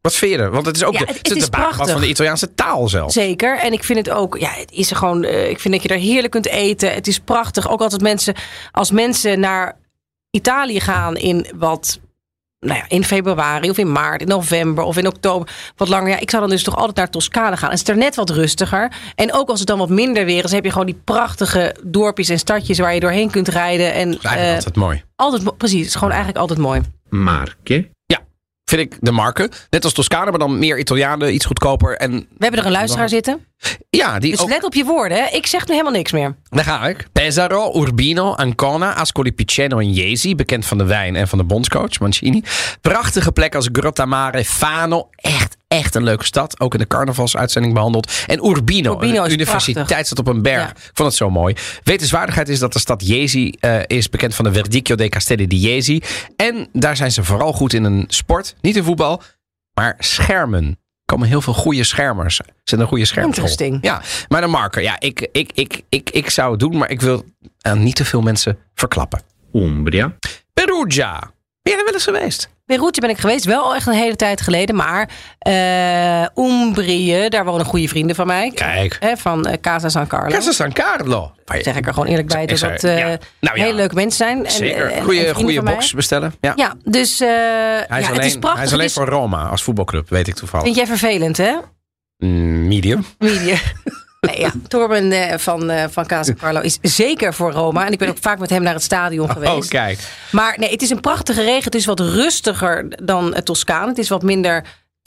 Wat vind je er? Want het is ook
Ja,
de,
het-
de,
het is
de baat
prachtig.
van de Italiaanse taal zelf.
zeker. En ik vind het ook, ja, het is er gewoon, eh, ik vind dat je daar heerlijk kunt eten. Het is prachtig. Ook altijd mensen, als mensen naar Italië gaan in wat, nou ja, in februari of in maart, in november of in oktober, wat langer. Ja, ik zou dan dus toch altijd naar Toscane gaan. Het is er net wat rustiger. En ook als het dan wat minder weer is, heb je gewoon die prachtige dorpjes en stadjes waar je doorheen kunt rijden. En
Dat is eigenlijk
eh,
altijd mooi.
altijd, mo- precies, het is gewoon eigenlijk altijd mooi.
Marche,
Vind ik de marken. Net als Toscane, maar dan meer Italianen, iets goedkoper. En
We hebben er een luisteraar zitten.
ja, die
Dus
ook
let op je woorden. Hè. Ik zeg nu helemaal niks meer.
Daar ga ik. Pesaro, Urbino, Ancona, Ascoli Piceno en Jesi. Bekend van de wijn en van de bondscoach Mancini. Prachtige plekken als Grottamare, Fano. Echt, echt een leuke stad. Ook in de carnavalsuitzending behandeld. En Urbino,
Urbino
een
is
universiteit
prachtig.
staat op een berg.
Ja.
Ik vond het zo mooi. Wetenswaardigheid is dat de stad Jesi eh, is bekend van de Verdicchio dei Castelli di Jesi. En daar zijn ze vooral goed in een sport. Niet in voetbal, maar schermen. Er komen heel veel goede schermers. Ze zijn een goede schermschool.
Interesting.
Ja, maar de marker. Ja, ik, ik, ik, ik, ik zou het doen, maar ik wil aan niet te veel mensen verklappen.
Umbria,
Perugia. Ben jij er wel eens geweest?
Beirutje ben ik geweest, wel echt een hele tijd geleden. Maar eh Umbrië, daar wonen goede vrienden van mij.
Kijk.
Hè, van eh, Casa San Carlo.
Casa San Carlo. Waar je-
Zeg ik er gewoon eerlijk bij,
Is er-
dat eh
ja. Nou ja.
hele leuke mensen zijn. En, eh, en-
Zeker.
en
Goeie,
vrienden
goede
van mij.
box bestellen. Ja.
Ja, dus eh,
Hij is
ja,
alleen,
het is prachtig. dus-
hij is alleen
Het is-
voor Roma als voetbalclub, weet ik toevallig.
Vind jij vervelend, hè?
Mm, Medium.
Media. *laughs* Nee, ja. Torben eh, van, eh van Casa Carlo is zeker voor Roma. En ik ben ook vaak met hem naar het stadion geweest.
Oh, kijk.
Maar nee, het is een prachtige regen. Het is wat rustiger dan het Toscaan. Het is wat minder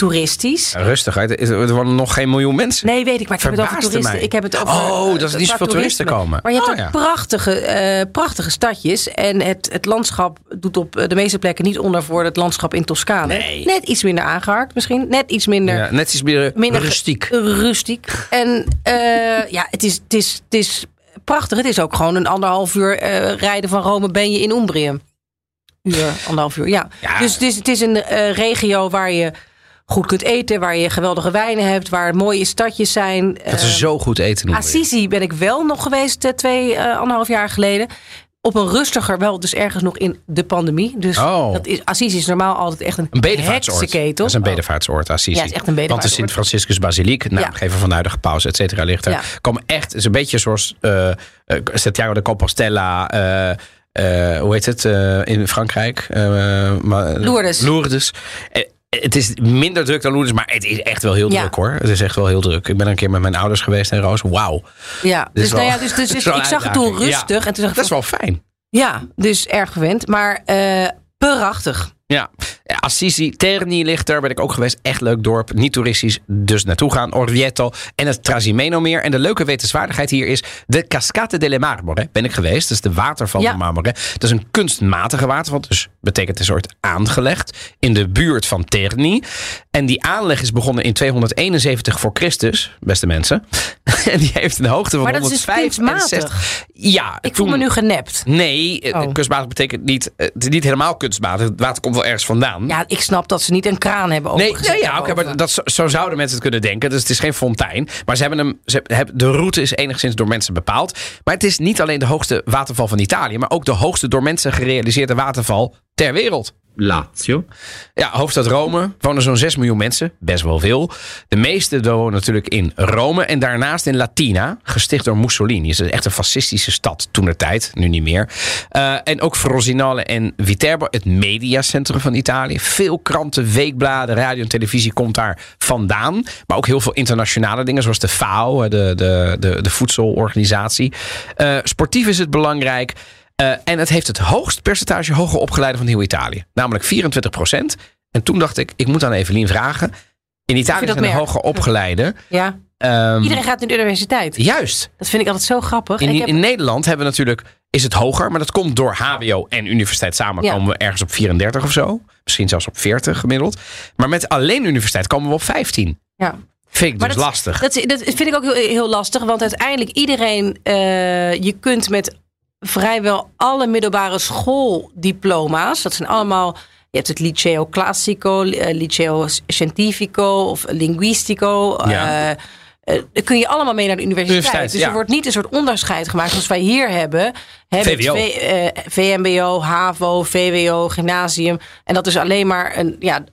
toeristisch.
Rustig, hè. er er wonen nog geen miljoen mensen.
Nee, weet ik, maar ik heb het over
Verbaasde
toeristen.
mij.
Ik heb het over,
Oh, dat is
eh,
niet
qua
zoveel toeristen
toerisme.
komen.
Maar je hebt
Oh,
ook
ja.
prachtige, eh, prachtige stadjes. En het, het landschap doet op eh, de meeste plekken niet onder voor het landschap in Toscane.
Nee.
Net iets minder aangehaakt misschien. Net iets minder
Ja, net iets meer
minder ge-
rustiek.
Rustiek. En eh, ja, het is, het, is, het is prachtig. Het is ook gewoon een anderhalf uur eh, rijden van Rome ben je in Umbrië. uur, anderhalf uur. Ja.
Ja.
Dus het is, het is een eh, regio waar je goed kunt eten, waar je geweldige wijnen hebt, waar mooie stadjes zijn.
Dat
Eh,
is zo goed eten. noemen.
Assisi ben ik wel nog geweest eh, twee, eh, anderhalf jaar geleden. Op een rustiger, wel dus ergens nog in de pandemie. Dus
Oh.
dat is, Assisi is normaal altijd echt een,
Een bedevaartsoord.
heksenketel.
Dat is een bedevaartsoord, Assisi.
Oh. Ja, het is echt een
Want de nou,
bedevaartsoord.
Sint-Franciscus-basiliek, naamgever van de huidige paus, et cetera, ligt er.
Ja.
Komen echt, is een beetje zoals eh, eh, Santiago de Compostela, eh, eh, hoe heet het, eh, in Frankrijk? eh, maar-
Lourdes.
Lourdes. Eh, het is minder druk dan Lourdes, maar het is echt wel heel
Ja.
druk hoor. Het is echt wel heel druk. Ik ben een keer met mijn ouders geweest en Roos, wauw.
Ja,
Dit
dus,
is wel-
nou ja, dus,
*laughs*
dus,
dit is
dus
wel
ik
een
zag het toen
uitdaging.
rustig.
Ja.
En toen dacht
Dat
ik,
is wel fijn.
ja, dus erg gewend. Maar eh, prachtig.
Ja, Assisi, Terni ligt er, ben ik ook geweest. Echt leuk dorp, niet toeristisch, dus naartoe gaan. Orvieto en het Trasimeno-meer. En de leuke wetenswaardigheid hier is de Cascate delle Marmore. Ben ik geweest, dat is de waterval
Ja.
van Marmore. Dat is een kunstmatige waterval, dus betekent een soort aangelegd in de buurt van Terni. En die aanleg is begonnen in 271 voor Christus, beste mensen. *laughs* en die heeft een hoogte van
Maar dat is dus
165. Ja,
Ik voel
toen-
me nu genept.
Nee, eh,
Oh.
kunstmatig betekent niet, eh, het is niet helemaal kunstmatig. Het water komt wel ergens vandaan.
Ja, ik snap dat ze niet een kraan hebben
Nee,
opengezet.
nee, ja, oké,
daarboven.
maar dat, zo- zo zouden mensen het kunnen denken. Dus het is geen fontein. Maar ze hebben hem, ze hebben, de route is enigszins door mensen bepaald. Maar het is niet alleen de hoogste waterval van Italië, maar ook de hoogste door mensen gerealiseerde waterval ter wereld.
Lazio,
Ja, hoofdstad Rome wonen zo'n 6 miljoen mensen. Best wel veel. De meeste wonen natuurlijk in Rome. En daarnaast in Latina, gesticht door Mussolini. Het is echt een fascistische stad toen de tijd, nu niet meer. Eh, en ook Frosinone en Viterbo, het mediacentrum van Italië. Veel kranten, weekbladen, radio en televisie komt daar vandaan. Maar ook heel veel internationale dingen, zoals de FAO, eh, de, de, de, de voedselorganisatie. Eh, sportief is het belangrijk. Eh, en het heeft het hoogst percentage hoger opgeleiden van heel Italië. Namelijk 24 En toen dacht ik, ik moet aan Evelien vragen. In Italië
dat
zijn de
merkt?
hoger opgeleiden.
Ja.
ehm,
Iedereen gaat naar de universiteit.
Juist.
Dat vind ik altijd zo grappig. En
In,
ik heb-
in Nederland hebben we natuurlijk, is het hoger. Maar dat komt door HBO en universiteit samen.
Ja.
Komen we ergens op 34 of zo. Misschien zelfs op 40 gemiddeld. Maar met alleen universiteit komen we op 15.
ja.
Vind ik
Maar
dus
dat-
lastig.
Dat, is- dat vind ik ook heel, heel lastig. Want uiteindelijk iedereen... eh, je kunt met vrijwel alle middelbare schooldiploma's... Dat zijn allemaal... Je hebt het Liceo Classico, eh, Liceo Scientifico of Linguistico.
Ja.
eh, eh, daar kun je allemaal mee naar de universiteit.
Universiteit,
dus
ja.
er wordt niet een soort onderscheid gemaakt zoals wij hier hebben. Hè, met
VWO.
V- eh, VMBO, HAVO, VWO, gymnasium. En dat is alleen maar een... Ja,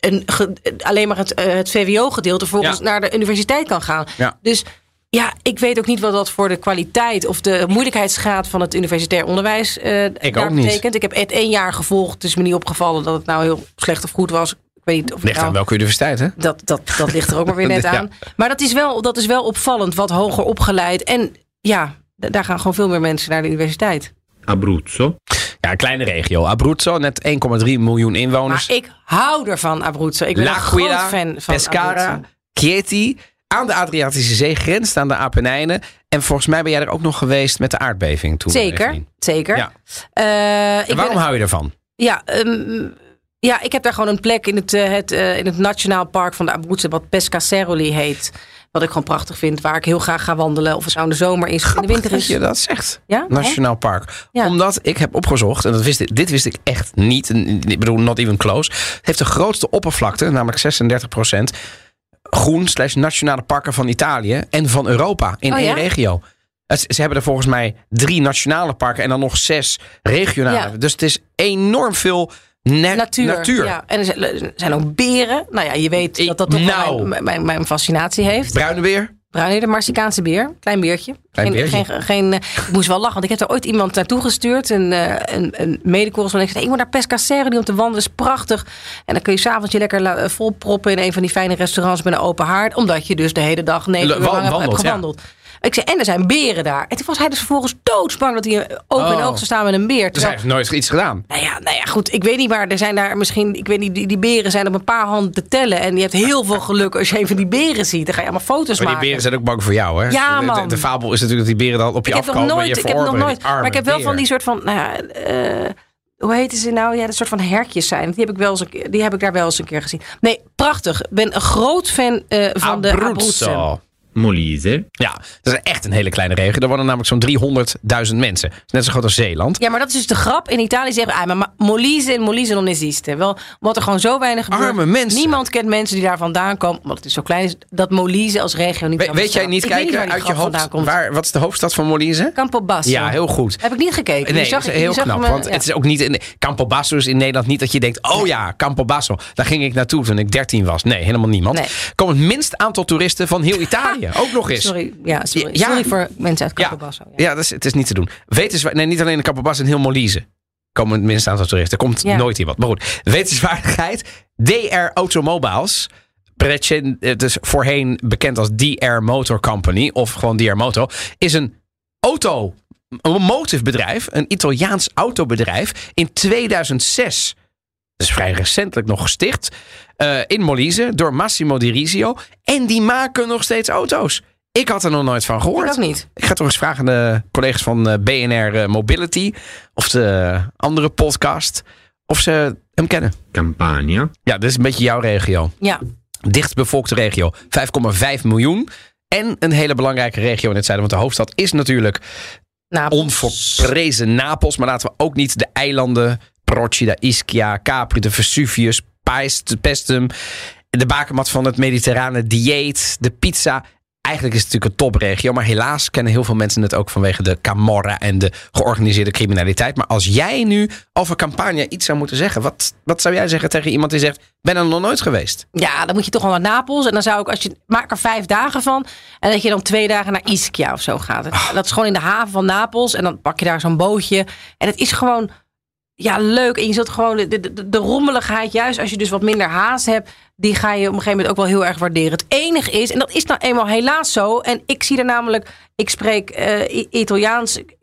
een, ge- alleen maar het, eh, het VWO-gedeelte volgens
Ja.
naar de universiteit kan gaan.
Ja.
Dus ja, ik weet ook niet wat dat voor de kwaliteit of de moeilijkheidsgraad van het universitair onderwijs eh
ook
daar
niet.
betekent. Ik heb het één jaar gevolgd. Het is me niet opgevallen dat het nou heel slecht of goed was. Ik weet niet of het
Ligt aan
nou-
welke universiteit, hè?
dat, dat, dat ligt er ook maar
*laughs*
weer net
Ja.
aan. Maar dat is, wel, dat is wel opvallend, wat hoger opgeleid. En ja, d- daar gaan gewoon veel meer mensen naar de universiteit.
Abruzzo,
Ja, een kleine regio. Abruzzo, net 1,3 miljoen
Maar
inwoners.
ik hou ervan Abruzzo. Ik ben
La
een groot
Guida,
fan van
Pescara,
Abruzzo.
Chieti. Aan de Adriatische Zee grenst aan de Apennijnen. En volgens mij ben jij er ook nog geweest met de aardbeving toen. eh,
Zeker,
Evelien.
zeker.
Ja.
Eh, ik
En waarom
ben-
hou je ervan?
ja, ehm, ja, ik heb daar gewoon een plek in het, eh, het, eh, in het Nationaal Park van de Abruzzo, wat Pescaceroli heet. Wat ik gewoon prachtig vind, waar ik heel graag ga wandelen. Of het nou in de zomer is of in de winter
Dat
is.
je dat zegt.
Ja?
Nationaal Park.
Ja.
Omdat ik heb opgezocht, en dat wist ik, dit wist ik echt niet. en Ik bedoel, not even close. Het heeft de grootste oppervlakte, namelijk 36 groen slash nationale parken van Italië en van Europa in
Oh
één
ja?
regio. Het- Ze hebben er volgens mij drie nationale parken en dan nog zes regionale.
Ja.
Dus het is enorm veel na-
Natuur.
natuur.
Ja. En er zijn- er zijn ook beren. Nou ja, je weet dat dat toch wel
Nou.
mijn, mijn, mijn fascinatie heeft.
Bruine beer.
Bruine, de Marsicaanse beer. Klein beertje.
Klein
geen,
beertje.
Geen, geen, eh, ik moest wel lachen, want ik heb er ooit iemand naartoe gestuurd. Een, eh, een, een medecorrespondent. Ik zei, ik moet naar Pescacero die om te wandelen. is prachtig. En dan kun je s'avonds je lekker la- eh, volproppen in een van die fijne restaurants met een open haard. Omdat je dus de hele dag negen
Le-
uur lang
wan-
hebt-
wandelt,
hebt
ja.
gewandeld. Ik zei, en er zijn beren daar. En toen was hij dus vervolgens doodsbang dat hij eh, oog in
Oh.
oog zou staan met een beer.
Dus
Terwijl-
hij heeft nooit iets gedaan.
nou ja, nou ja, goed. Ik weet niet waar. Er zijn daar misschien. Ik weet niet. Die, die beren zijn op een paar handen te tellen. En je hebt heel veel geluk als je even die beren ziet. Dan ga je allemaal foto's
Maar die
maken.
beren zijn ook bang voor jou, hè?
Ja,
de, De,
man.
de fabel is natuurlijk dat die beren dan op je
ik heb
afkomen.
nog
en
nooit.
je
Ik heb nog
verorberen,
nooit.
die arme
Maar ik heb wel
beer.
van die soort van. Nou ja, eh, hoe heten ze nou? Ja, dat soort van herkjes zijn. Die heb ik, wel eens een keer, die heb ik daar wel eens een keer gezien. Nee, prachtig. Ik ben een groot fan eh, van de Abruzzo.
Abruzzo.
Molise,
Ja, dat is echt een hele kleine regio. Daar wonen namelijk zo'n 300.000 mensen. Dat is net zo groot als Zeeland.
Ja, maar dat is dus de grap. In Italië zeggen we, ah, maar ma- Molise en Molise non esiste. Wel, wat er gewoon zo weinig gebeurt.
Arme mensen.
Niemand kent mensen die daar vandaan komen. Omdat het is zo klein is, dat Molise als regio niet
We-
aan
weet jij
bestaat.
niet
Ik weet
kijken
waar die
uit je
grap vandaan
hoofd?
komt.
Waar, wat is de hoofdstad van Molise?
Campobasso.
Ja, heel goed.
Heb ik niet gekeken.
Nee,
Die zag
dat
ik-
is heel
die zag
knap.
me-
want
ja.
het is ook niet in Campobasso is in Nederland niet dat je denkt: oh ja, Campobasso. Daar ging ik naartoe toen ik 13 was. Nee, helemaal niemand.
Nee.
Komt het minst aantal toeristen van heel Italië. ook nog eens.
Sorry, ja, sorry.
Ja.
sorry voor mensen uit
Ja,
Campobasso. Ja.
ja dat is, het is niet te doen. Wetenswaar, nee, niet alleen in Campobasso, in heel Molise komen het minst aantal toeristen. Er komt
Ja.
nooit iemand. Maar goed, wetenswaardigheid. DR Automobiles. Precen- Het is voorheen bekend als DR Motor Company of gewoon DR Moto. Is een auto, een motiefbedrijf, een Italiaans autobedrijf in 2006. Dat is vrij recentelijk nog gesticht. eh, in Molise door Massimo Di Risio. En die maken nog steeds auto's. Ik had er nog nooit van gehoord.
Ik ook niet.
Ik ga toch eens vragen aan de collega's van eh, BNR eh, Mobility of de andere podcast of ze hem kennen.
Campania,
Ja, dit is een beetje jouw regio.
Ja.
Dichtbevolkte regio. 5,5 miljoen. En een hele belangrijke regio in het zuiden. Want de hoofdstad is natuurlijk
Napels.
onverprezen Napels. Maar laten we ook niet de eilanden Procida, Ischia, Capri, de Vesuvius, Paest- Pestum, de bakermat van het mediterrane dieet, de pizza. Eigenlijk is het natuurlijk een topregio, maar helaas kennen heel veel mensen het ook vanwege de Camorra en de georganiseerde criminaliteit. Maar als jij nu over Campania iets zou moeten zeggen, wat, wat zou jij zeggen tegen iemand die zegt: Ben er nog nooit geweest?
Ja, dan moet je toch wel naar Napels. En dan zou ik, als je, maak er vijf dagen van. En dat je dan twee dagen naar Ischia of zo gaat.
Ah.
Dat is gewoon in de haven van Napels. En dan pak je daar zo'n bootje. En het is gewoon, ja, leuk. En je zult gewoon de, de, de- de rommeligheid, juist als je dus wat minder haast hebt. Die ga je op een gegeven moment ook wel heel erg waarderen. Het enige is, en dat is nou eenmaal helaas zo. En ik zie er namelijk, ik spreek eh, I- Italiaans. Ik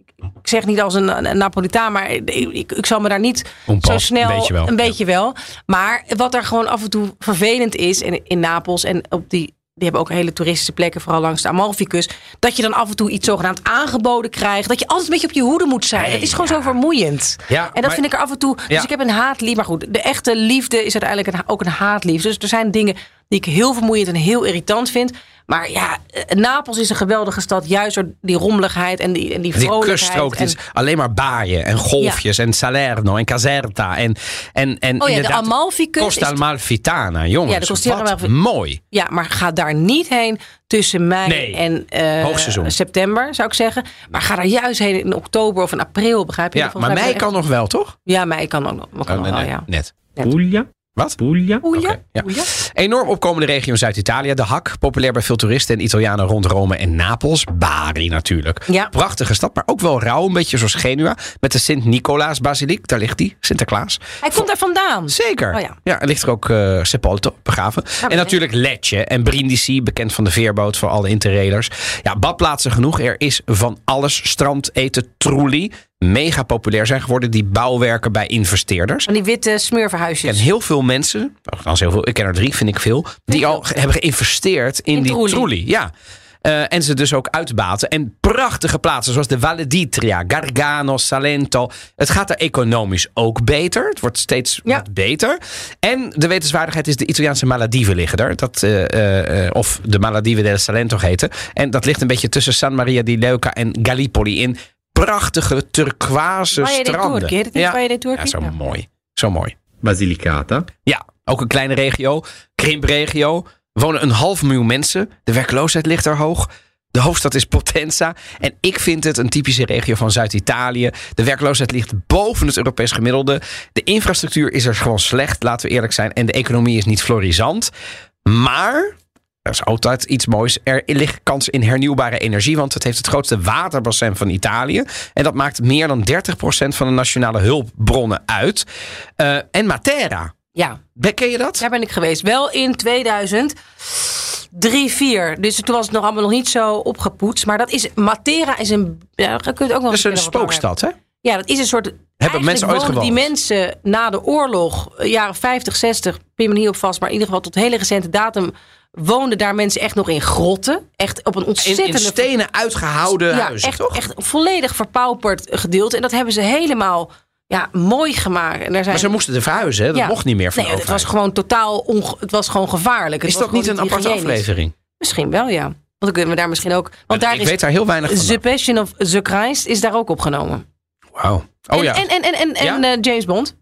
ik zeg niet als een, een Napolitaan, maar ik, ik, ik zal me daar niet
Onpas,
zo
een
snel
beetje wel.
een beetje wel. Maar wat er gewoon af en toe vervelend is in, in Napels en op die. Die hebben ook hele toeristische plekken, vooral langs de Amalficus. Dat je dan af en toe iets zogenaamd aangeboden krijgt. Dat je altijd een beetje op je hoede moet zijn. dat is gewoon zo vermoeiend.
Ja,
en dat
maar-
vind ik er af en toe. Dus
Ja.
ik heb een haatliefde. Maar goed, de echte liefde is uiteindelijk een- ook een haatliefde. Dus er zijn dingen die ik heel vermoeiend en heel irritant vind. Maar ja, eh, Napels is een geweldige stad. Juist door die rommeligheid en die, en die
Die
vrolijkheid.
kuststrook, het
en-
is alleen maar baaien en golfjes en Salerno en Caserta en, en, en
oh ja, de
inderdaad-
Amalficus. is
Costa Amalfitana, jongens.
Ja, de Costa
wat
Amalfi-
mooi.
Ja, maar ga daar niet heen tussen mei
Nee,
en eh,
hoogseizoen.
september, zou ik zeggen. Maar ga daar juist heen in oktober of in april, begrijp je?
Ja,
Volgens
maar
mij
mij kan nog wel, toch?
Ja, mei kan ook nog. we Kan
Oh,
nog
nee,
wel,
nee,
ja.
Net.
Puglia,
Wat?
Puglia,
Oeja?
Oké, ja.
Oeja?
Enorm opkomende regio in Zuid-Italië. De Hak, populair bij veel toeristen en Italianen rond Rome en Napels. Bari natuurlijk.
Ja.
Prachtige stad, maar ook wel rauw. Een beetje zoals Genua. Met de Sint-Nicolaas-basiliek. Daar ligt die, Sinterklaas.
Hij komt daar vandaan.
Zeker.
Oh
ja.
ja.
er ligt er ook eh Sepolto begraven. en
oké.
natuurlijk Letje en Brindisi, bekend van de veerboot voor alle interrailers. Ja, badplaatsen genoeg. Er is van alles. Strand, eten, troelie. Mega populair zijn geworden die bouwwerken bij investeerders.
Van die witte
Ik
smeurverhuisjes.
ken heel veel mensen, althans heel veel, ik ken er drie, vind ik veel, die al ge- hebben geïnvesteerd in,
In
die
Trulli.
troelie. Ja. Eh, en ze dus ook uitbaten. En prachtige plaatsen zoals de Valeditria, Gargano, Salento. Het gaat er economisch ook beter. Het wordt steeds
Ja.
wat beter. En de wetenswaardigheid is de Italiaanse Maladieven liggen er. Dat, eh, eh, eh, of de Maladieven del Salento heten. En dat ligt een beetje tussen San Maria di Leuca en Gallipoli in. Prachtige turquoise
Valle dei
stranden.
Turchi, heet het niet Valle dei Turchi?
ja, zo
Ja.
mooi. Zo mooi.
Basilicata,
Ja, ook een kleine regio. Krimpregio. Wonen een half miljoen mensen. De werkloosheid ligt er hoog. De hoofdstad is Potenza. En ik vind het een typische regio van Zuid-Italië. De werkloosheid ligt boven het Europees gemiddelde. De infrastructuur is er gewoon slecht, laten we eerlijk zijn. En de economie is niet florisant. Maar, dat is altijd iets moois, er ligt kans in hernieuwbare energie. Want het heeft het grootste waterbassin van Italië. En dat maakt meer dan 30% van de nationale hulpbronnen uit. Eh, en Matera.
Ja,
Ben- Ken je dat?
daar ben ik geweest. Wel in 2000. 3, 4. Dus toen was het nog allemaal nog niet zo opgepoetst. Maar dat is. Matera is een. Ja, je kunt ook nog
dat is een
keer wat langer
spookstad, hè?
Ja, dat is een soort. eigenlijk
mensen ooit
wonen die
gewoond?
mensen na de oorlog, eh, jaren 50, 60, pin me niet op vast, maar in ieder geval tot hele recente datum woonden daar mensen echt nog in grotten. Echt op een
In,
ontzettende.
in stenen uitgehouden
ja,
huizen,
echt,
toch?
echt volledig verpauperd gedeelte. En dat hebben ze helemaal ja, mooi gemaakt. En daar zijn,
Maar ze moesten er verhuizen, hè? Dat
ja.
mocht niet meer van
Nee,
de
het was
overheid.
gewoon totaal onge- het was gewoon gevaarlijk. Het
Is
was
dat niet
gewoon
een aparte
hygiënisch.
aflevering?
Misschien wel, ja. Want ik me daar misschien ook. Want daar
ik
is
weet daar heel weinig van.
The Passion of the Christ is daar ook opgenomen.
Wauw. Oh
en,
ja,
En, en, en, en,
Ja?
en, eh, James Bond.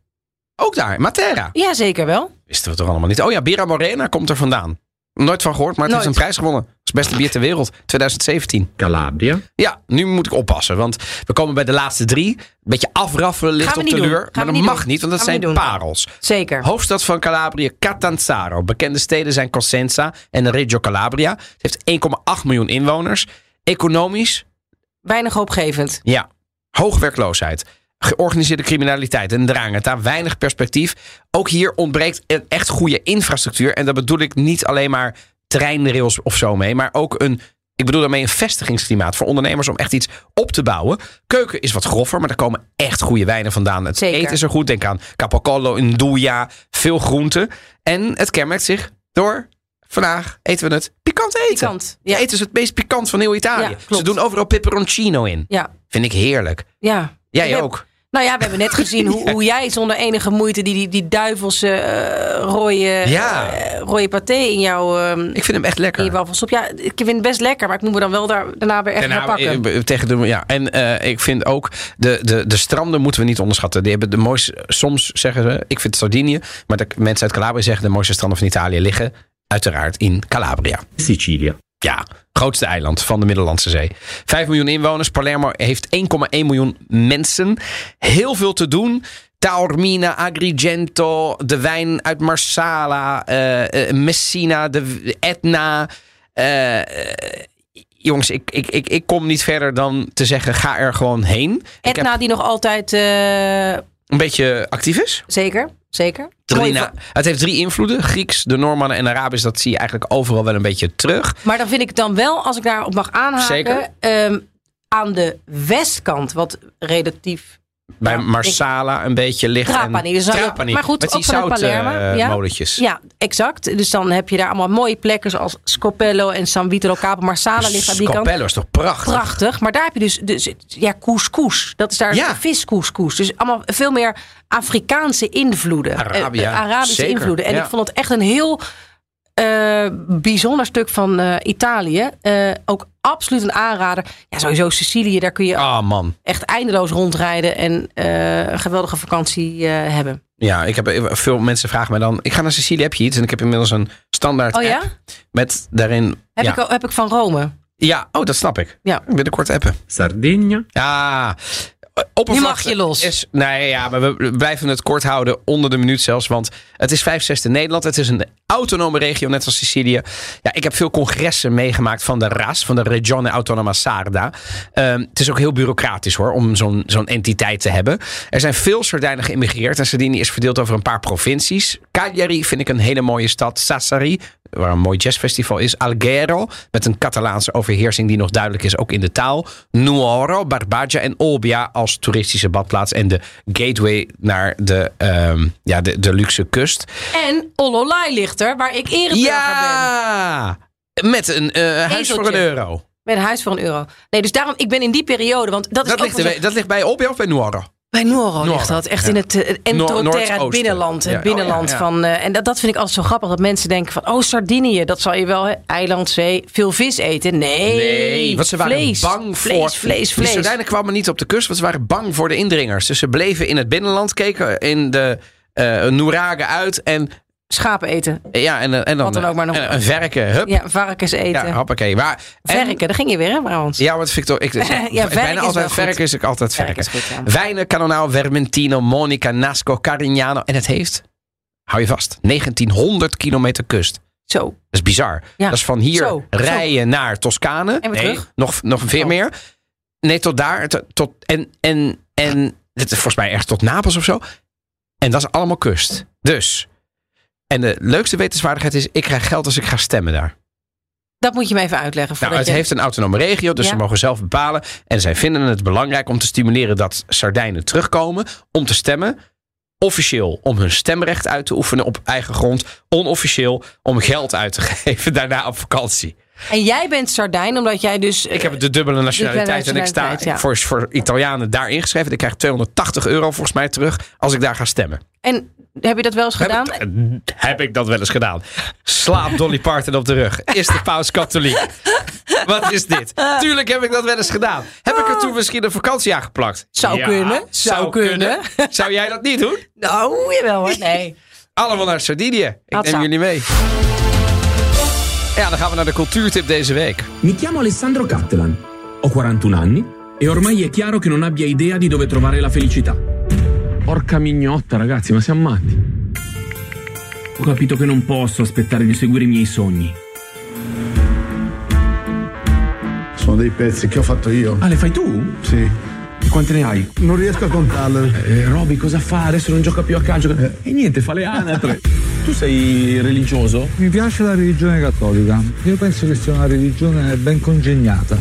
ook daar. Matera.
Ja, zeker wel.
Wisten we toch allemaal niet. Oh ja, Bira Morena komt er vandaan. Nooit van gehoord, maar het
Nooit.
is een prijs gewonnen. Het is beste bier ter wereld, 2017.
Calabria,
Ja, nu moet ik oppassen, want we komen bij de laatste drie. Beetje afraffelen ligt
Gaan we
op
niet
de
doen.
luur.
Gaan
Maar
we
dat
niet
mag
doen.
niet, want dat
Gaan we
zijn
niet doen.
parels.
Zeker.
Hoofdstad van Calabria, Catanzaro. Bekende steden zijn Cosenza en Reggio Calabria. Het heeft 1,8 miljoen inwoners. Economisch,
Weinig hoopgevend.
ja, hoog werkloosheid. Georganiseerde criminaliteit en drangen. Daar weinig perspectief. Ook hier ontbreekt een echt goede infrastructuur. En daar bedoel ik niet alleen maar treinrails of zo mee. Maar ook een, ik bedoel daarmee een vestigingsklimaat voor ondernemers om echt iets op te bouwen. Keuken is wat groffer, maar daar komen echt goede wijnen vandaan. Het
Zeker.
eten is er goed. Denk aan Capocollo, Nduja, veel groenten. En het kenmerkt zich door... Vandaag eten we het pikant eten.
Pikant, ja.
Eten is het meest pikant van heel Italië.
Ja, klopt.
Ze doen overal peperoncino in.
Ja.
Vind ik heerlijk.
ja.
Jij
We-
ook.
Nou ja, we hebben net
*laughs*
gezien hoe, hoe jij zonder enige moeite die, die, die duivelse eh, rode,
Ja.
eh, rode paté in jouw, ehm
Ik vind hem echt
in je
lekker.
wafelsoep. Ja, ik vind het best lekker, maar ik moet me dan wel daar, daarna weer echt naar
Daarna,
pakken.
eh, tegen de, ja. En eh, ik vind ook de, de, de stranden moeten we niet onderschatten. Die hebben de mooiste, soms zeggen ze, ik vind Sardinië, maar de mensen uit Calabria zeggen de mooiste stranden van Italië liggen uiteraard in Calabria.
Sicilia,
Ja, grootste eiland van de Middellandse Zee. 5 miljoen inwoners. Palermo heeft 1,1 miljoen mensen. Heel veel te doen. Taormina, Agrigento, de wijn uit Marsala, eh, eh, Messina, de Etna. Eh, eh, jongens, ik, ik, ik, ik kom niet verder dan te zeggen, ga er gewoon heen. Ik
Edna
heb
die nog altijd, eh,
een beetje actief is.
zeker, zeker.
Drie
Mooie
na- het heeft drie invloeden. Grieks, de Normannen en Arabisch. Dat zie je eigenlijk overal wel een beetje terug.
Maar dan vind ik dan wel, als ik daarop mag aanhaken,
Zeker.
ehm, aan de westkant, wat relatief.
bij
Ja,
Marsala een beetje ligt.
Trapani, dus
en
dan- maar goed,
met die eh,
ook vanuit Palermo, ja.
zoutmolentjes.
Ja, exact. Dus dan heb je daar allemaal mooie plekken zoals Scopello en San Vito lo Capo Marsala ligt aan die kant.
Scopello is toch prachtig?
Prachtig. Maar daar heb je dus, dus ja, couscous. Dat is daar
Ja.
viskouscous. Dus allemaal veel meer Afrikaanse invloeden.
Arabia,
Eh, eh, Arabische
zeker,
invloeden. En
ja.
ik vond het echt een heel eh, bijzonder stuk van eh, Italië. Eh, ook absoluut een aanrader. Ja, sowieso Sicilië. Daar kun je
Ah man,
echt eindeloos rondrijden en eh, een geweldige vakantie eh, hebben.
ja, ik heb eh, veel mensen vragen mij dan. Ik ga naar Sicilië, heb je iets? En ik heb inmiddels een standaard
Oh ja?
app met daarin.
Heb,
ja.
ik, heb ik van Rome.
ja, oh dat snap ik.
Ja.
Binnenkort appen.
Sardegna,
Ja. Oppervlakte
mag je los.
Is, nee, ja, maar we blijven het kort houden, onder de minuut zelfs. Want het is 65 Nederland. Het is een autonome regio, net als Sicilië. Ja, ik heb veel congressen meegemaakt van de RAS, van de Regione Autonoma Sarda. Ehm, het is ook heel bureaucratisch hoor, om zo'n zo'n entiteit te hebben. Er zijn veel Sardijnen geïmmigreerd. En Sardinië is verdeeld over een paar provincies. Cagliari vind ik een hele mooie stad. Sassari, waar een mooi jazzfestival is. Alghero, met een Catalaanse overheersing die nog duidelijk is, ook in de taal. Nuoro, Barbagia en Olbia als toeristische badplaats. En de gateway naar de, ehm, ja, de, de luxe kust.
En Ololai ligt er, waar ik ereburger ben.
Ja! Met een eh, huis voor een
Ezeltje.
euro.
Met een huis voor een euro. Nee, dus daarom, ik ben in die periode, want dat is
Dat
ook
ligt,
wel
er-
zo-
dat ligt bij Olbia of bij Nuoro?
Bij Noro
Noro,
ligt dat. Echt
ja.
in het, eh, het entroterra,
Noordoosten.
het binnenland. Het
Ja,
binnenland
oh ja, ja.
van. eh, en dat, dat vind ik altijd zo grappig. Dat mensen denken van, oh, Sardinië, dat zal je wel, hè, eiland, zee, veel vis eten. Nee,
want ze waren
vlees,
bang
vlees,
voor...
Vlees, vlees,
Die Sardijnen kwamen niet op de kust, want ze waren bang voor de indringers. Dus ze bleven in het binnenland, keken in de eh Noeragen uit en,
Schapen eten.
ja, en, eh, en dan,
Wat dan ook maar nog.
en, en verken. Hup, ja,
Ja, varkens eten.
hoppakee. Maar, en-
Verken, daar ging je weer, hè, Brabant?
Ja, want Victor,
*laughs*
ik,
verk
ja,
is
bijna
wel
altijd
goed.
verken is ik altijd
Verk
verken.
is goed, ja.
Wijnen, Canonau, Vermentino, Monica, Nasco, Carignano. En het heeft, hou je vast, 1900 kilometer kust.
Zo.
Dat is bizar.
Ja.
Dat is van hier
Zo,
rijden naar Toscane.
En weer
Nee,
terug.
Nog, nog veel
Oh.
meer. Nee, tot daar. Tot, tot- en, en, en dit is volgens mij echt tot Napels of zo. En dat is allemaal kust. Dus. En de leukste wetenswaardigheid is, ik krijg geld als ik ga stemmen daar.
Dat moet je me even uitleggen.
Nou,
voordat
het
je-
heeft een autonome regio, dus
Ja.
ze mogen zelf bepalen. En zij vinden het belangrijk om te stimuleren dat Sardijnen terugkomen om te stemmen. Officieel om hun stemrecht uit te oefenen op eigen grond. Onofficieel om geld uit te *laughs* geven daarna op vakantie.
En jij bent Sardijn, omdat jij dus...
Ik heb de dubbele nationaliteit en ik sta
nationaliteit, ja.
voor, voor Italianen daar ingeschreven. Ik krijg 280 euro volgens mij terug als ik daar ga stemmen.
En heb je dat wel eens gedaan?
Heb ik, heb ik dat wel eens gedaan? Slaap Dolly Parton op de rug. Is de paus katholiek? Wat is dit? Tuurlijk heb ik dat wel eens gedaan. Heb ik er toen misschien een vakantie aan geplakt?
Zou kunnen, zou kunnen.
Zou jij dat niet doen?
Nou, jawel hoor. Nee.
Allemaal naar Sardinië. Ik
Hatsa.
neem jullie mee. Ja, dan gaan we naar de cultuurtip deze week.
Mi chiamo Alessandro Cattelan, ho 41 anni e ormai è chiaro che non abbia idea di dove trovare la felicità. Porca mignotta, ragazzi, ma siamo matti. Ho capito che non posso aspettare di seguire i miei sogni.
Sono dei pezzi che ho fatto io.
Ale, fai tu?
Sì.
E Quante ne hai?
Non riesco a contarle.
Eh, Roby, cosa fa? Adesso non gioca più a calcio. E niente, fa le anatre. Eh. *laughs* tu sei religioso?
Mi piace la religione cattolica. Io penso che sia una religione ben congegnata.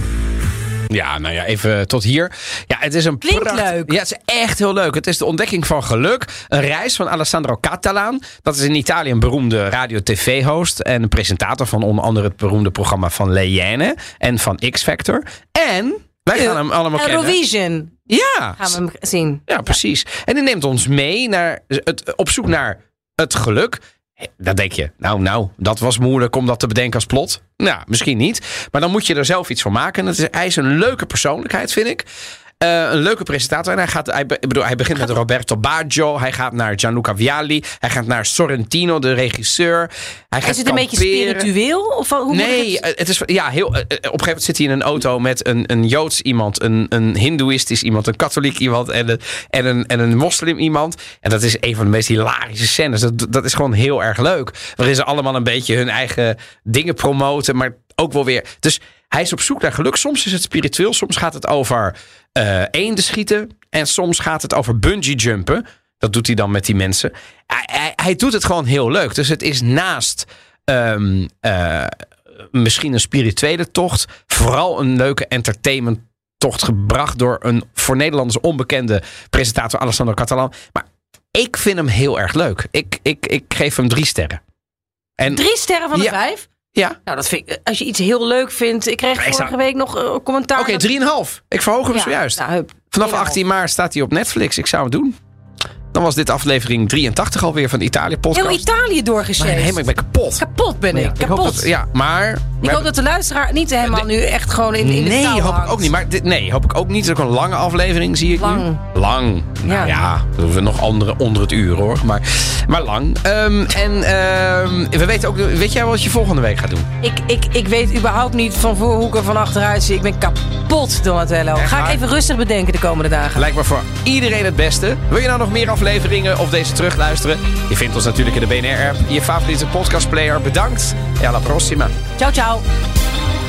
Ja, nou ja, even tot hier. Ja, het is een
Klinkt
pracht-
leuk.
Ja, het is echt heel leuk. Het is de ontdekking van geluk. Een reis van Alessandro Catalaan. Dat is in Italië een beroemde radio-tv-host. En presentator van onder andere het beroemde programma van Leiene. En van X-Factor. En wij gaan hem allemaal kennen.
Eurovision
Ja,
Eh, gaan we hem zien.
ja, precies. En die neemt ons mee naar het, op zoek naar het geluk. Eh, Dan denk je, nou, nou, dat was moeilijk om dat te bedenken als plot. Nou, misschien niet. Maar dan moet je er zelf iets van maken. En dat is, hij is een leuke persoonlijkheid, vind ik. Eh, een leuke presentator. En hij, gaat, hij, be- ik bedoel, hij begint met Roberto Baggio. Hij gaat naar Gianluca Vialli. Hij gaat naar Sorrentino, de regisseur. Hij gaat
Is het een beetje
kamperen.
spiritueel? Of wat- hoe moet ik
Nee,
het-
eh, het is ja, heel. eh, eh, Op een gegeven moment zit hij in een auto met een, een Joods iemand, een, een Hindoeïstisch iemand, een katholiek iemand en een, en, een, en een moslim iemand. En dat is een van de meest hilarische scènes. Dat, dat is gewoon heel erg leuk. Waarin ze allemaal een beetje hun eigen dingen promoten, maar ook wel weer. Dus hij is op zoek naar geluk. Soms is het spiritueel, soms gaat het over eh eenden schieten en soms gaat het over bungee jumpen. Dat doet hij dan met die mensen. Hij, hij, hij doet het gewoon heel leuk. Dus het is naast ehm, eh, misschien een spirituele tocht. Vooral een leuke entertainment tocht gebracht door een voor Nederlanders onbekende presentator Alessandro Catalan. Maar ik vind hem heel erg leuk. Ik, ik, ik geef hem drie sterren. En
Drie sterren van de
Ja.
vijf?
ja,
Nou, dat vind ik, als je iets heel leuk vindt. Ik kreeg
Ik zou-
vorige week nog eh, commentaar.
oké,
dat-
drieënhalf. Ik verhoog hem
Ja,
zojuist.
nou, hup.
Vanaf
drieënhalf.
18 maart staat hij op Netflix. Ik zou het doen. Dan was dit aflevering 83 alweer van de Italië podcast.
Heel Italië doorgeschreven.
Nee, maar ik ben kapot.
Kapot ben ik.
Ik
Kapot.
hoop dat, ja, maar... we
Ik hoop
hebben-
dat de luisteraar niet helemaal nu echt gewoon in, in de
nee,
touw
hoop ik
hangt.
ook niet. Maar dit, nee, hoop ik ook niet. Het is ook een lange aflevering, zie ik
Lang.
nu. Lang. Nou ja,
Ja.
dan doen we nog andere onder het uur, hoor. Maar, maar lang. Ehm, en ehm, we weten ook... Weet jij wat je volgende week gaat doen?
Ik, ik, ik weet überhaupt niet van voor hoe ik er van achteruit zie. Ik ben kapot, Donatello. Ga
waar?
ik even rustig bedenken de komende dagen.
Lijkt me voor iedereen het beste. Wil je nou nog meer afleveringen of deze terugluisteren? Je vindt ons natuurlijk in de BNR-app. Je favoriete podcastplayer. Bedankt. E alla prossima.
Ciao, ciao.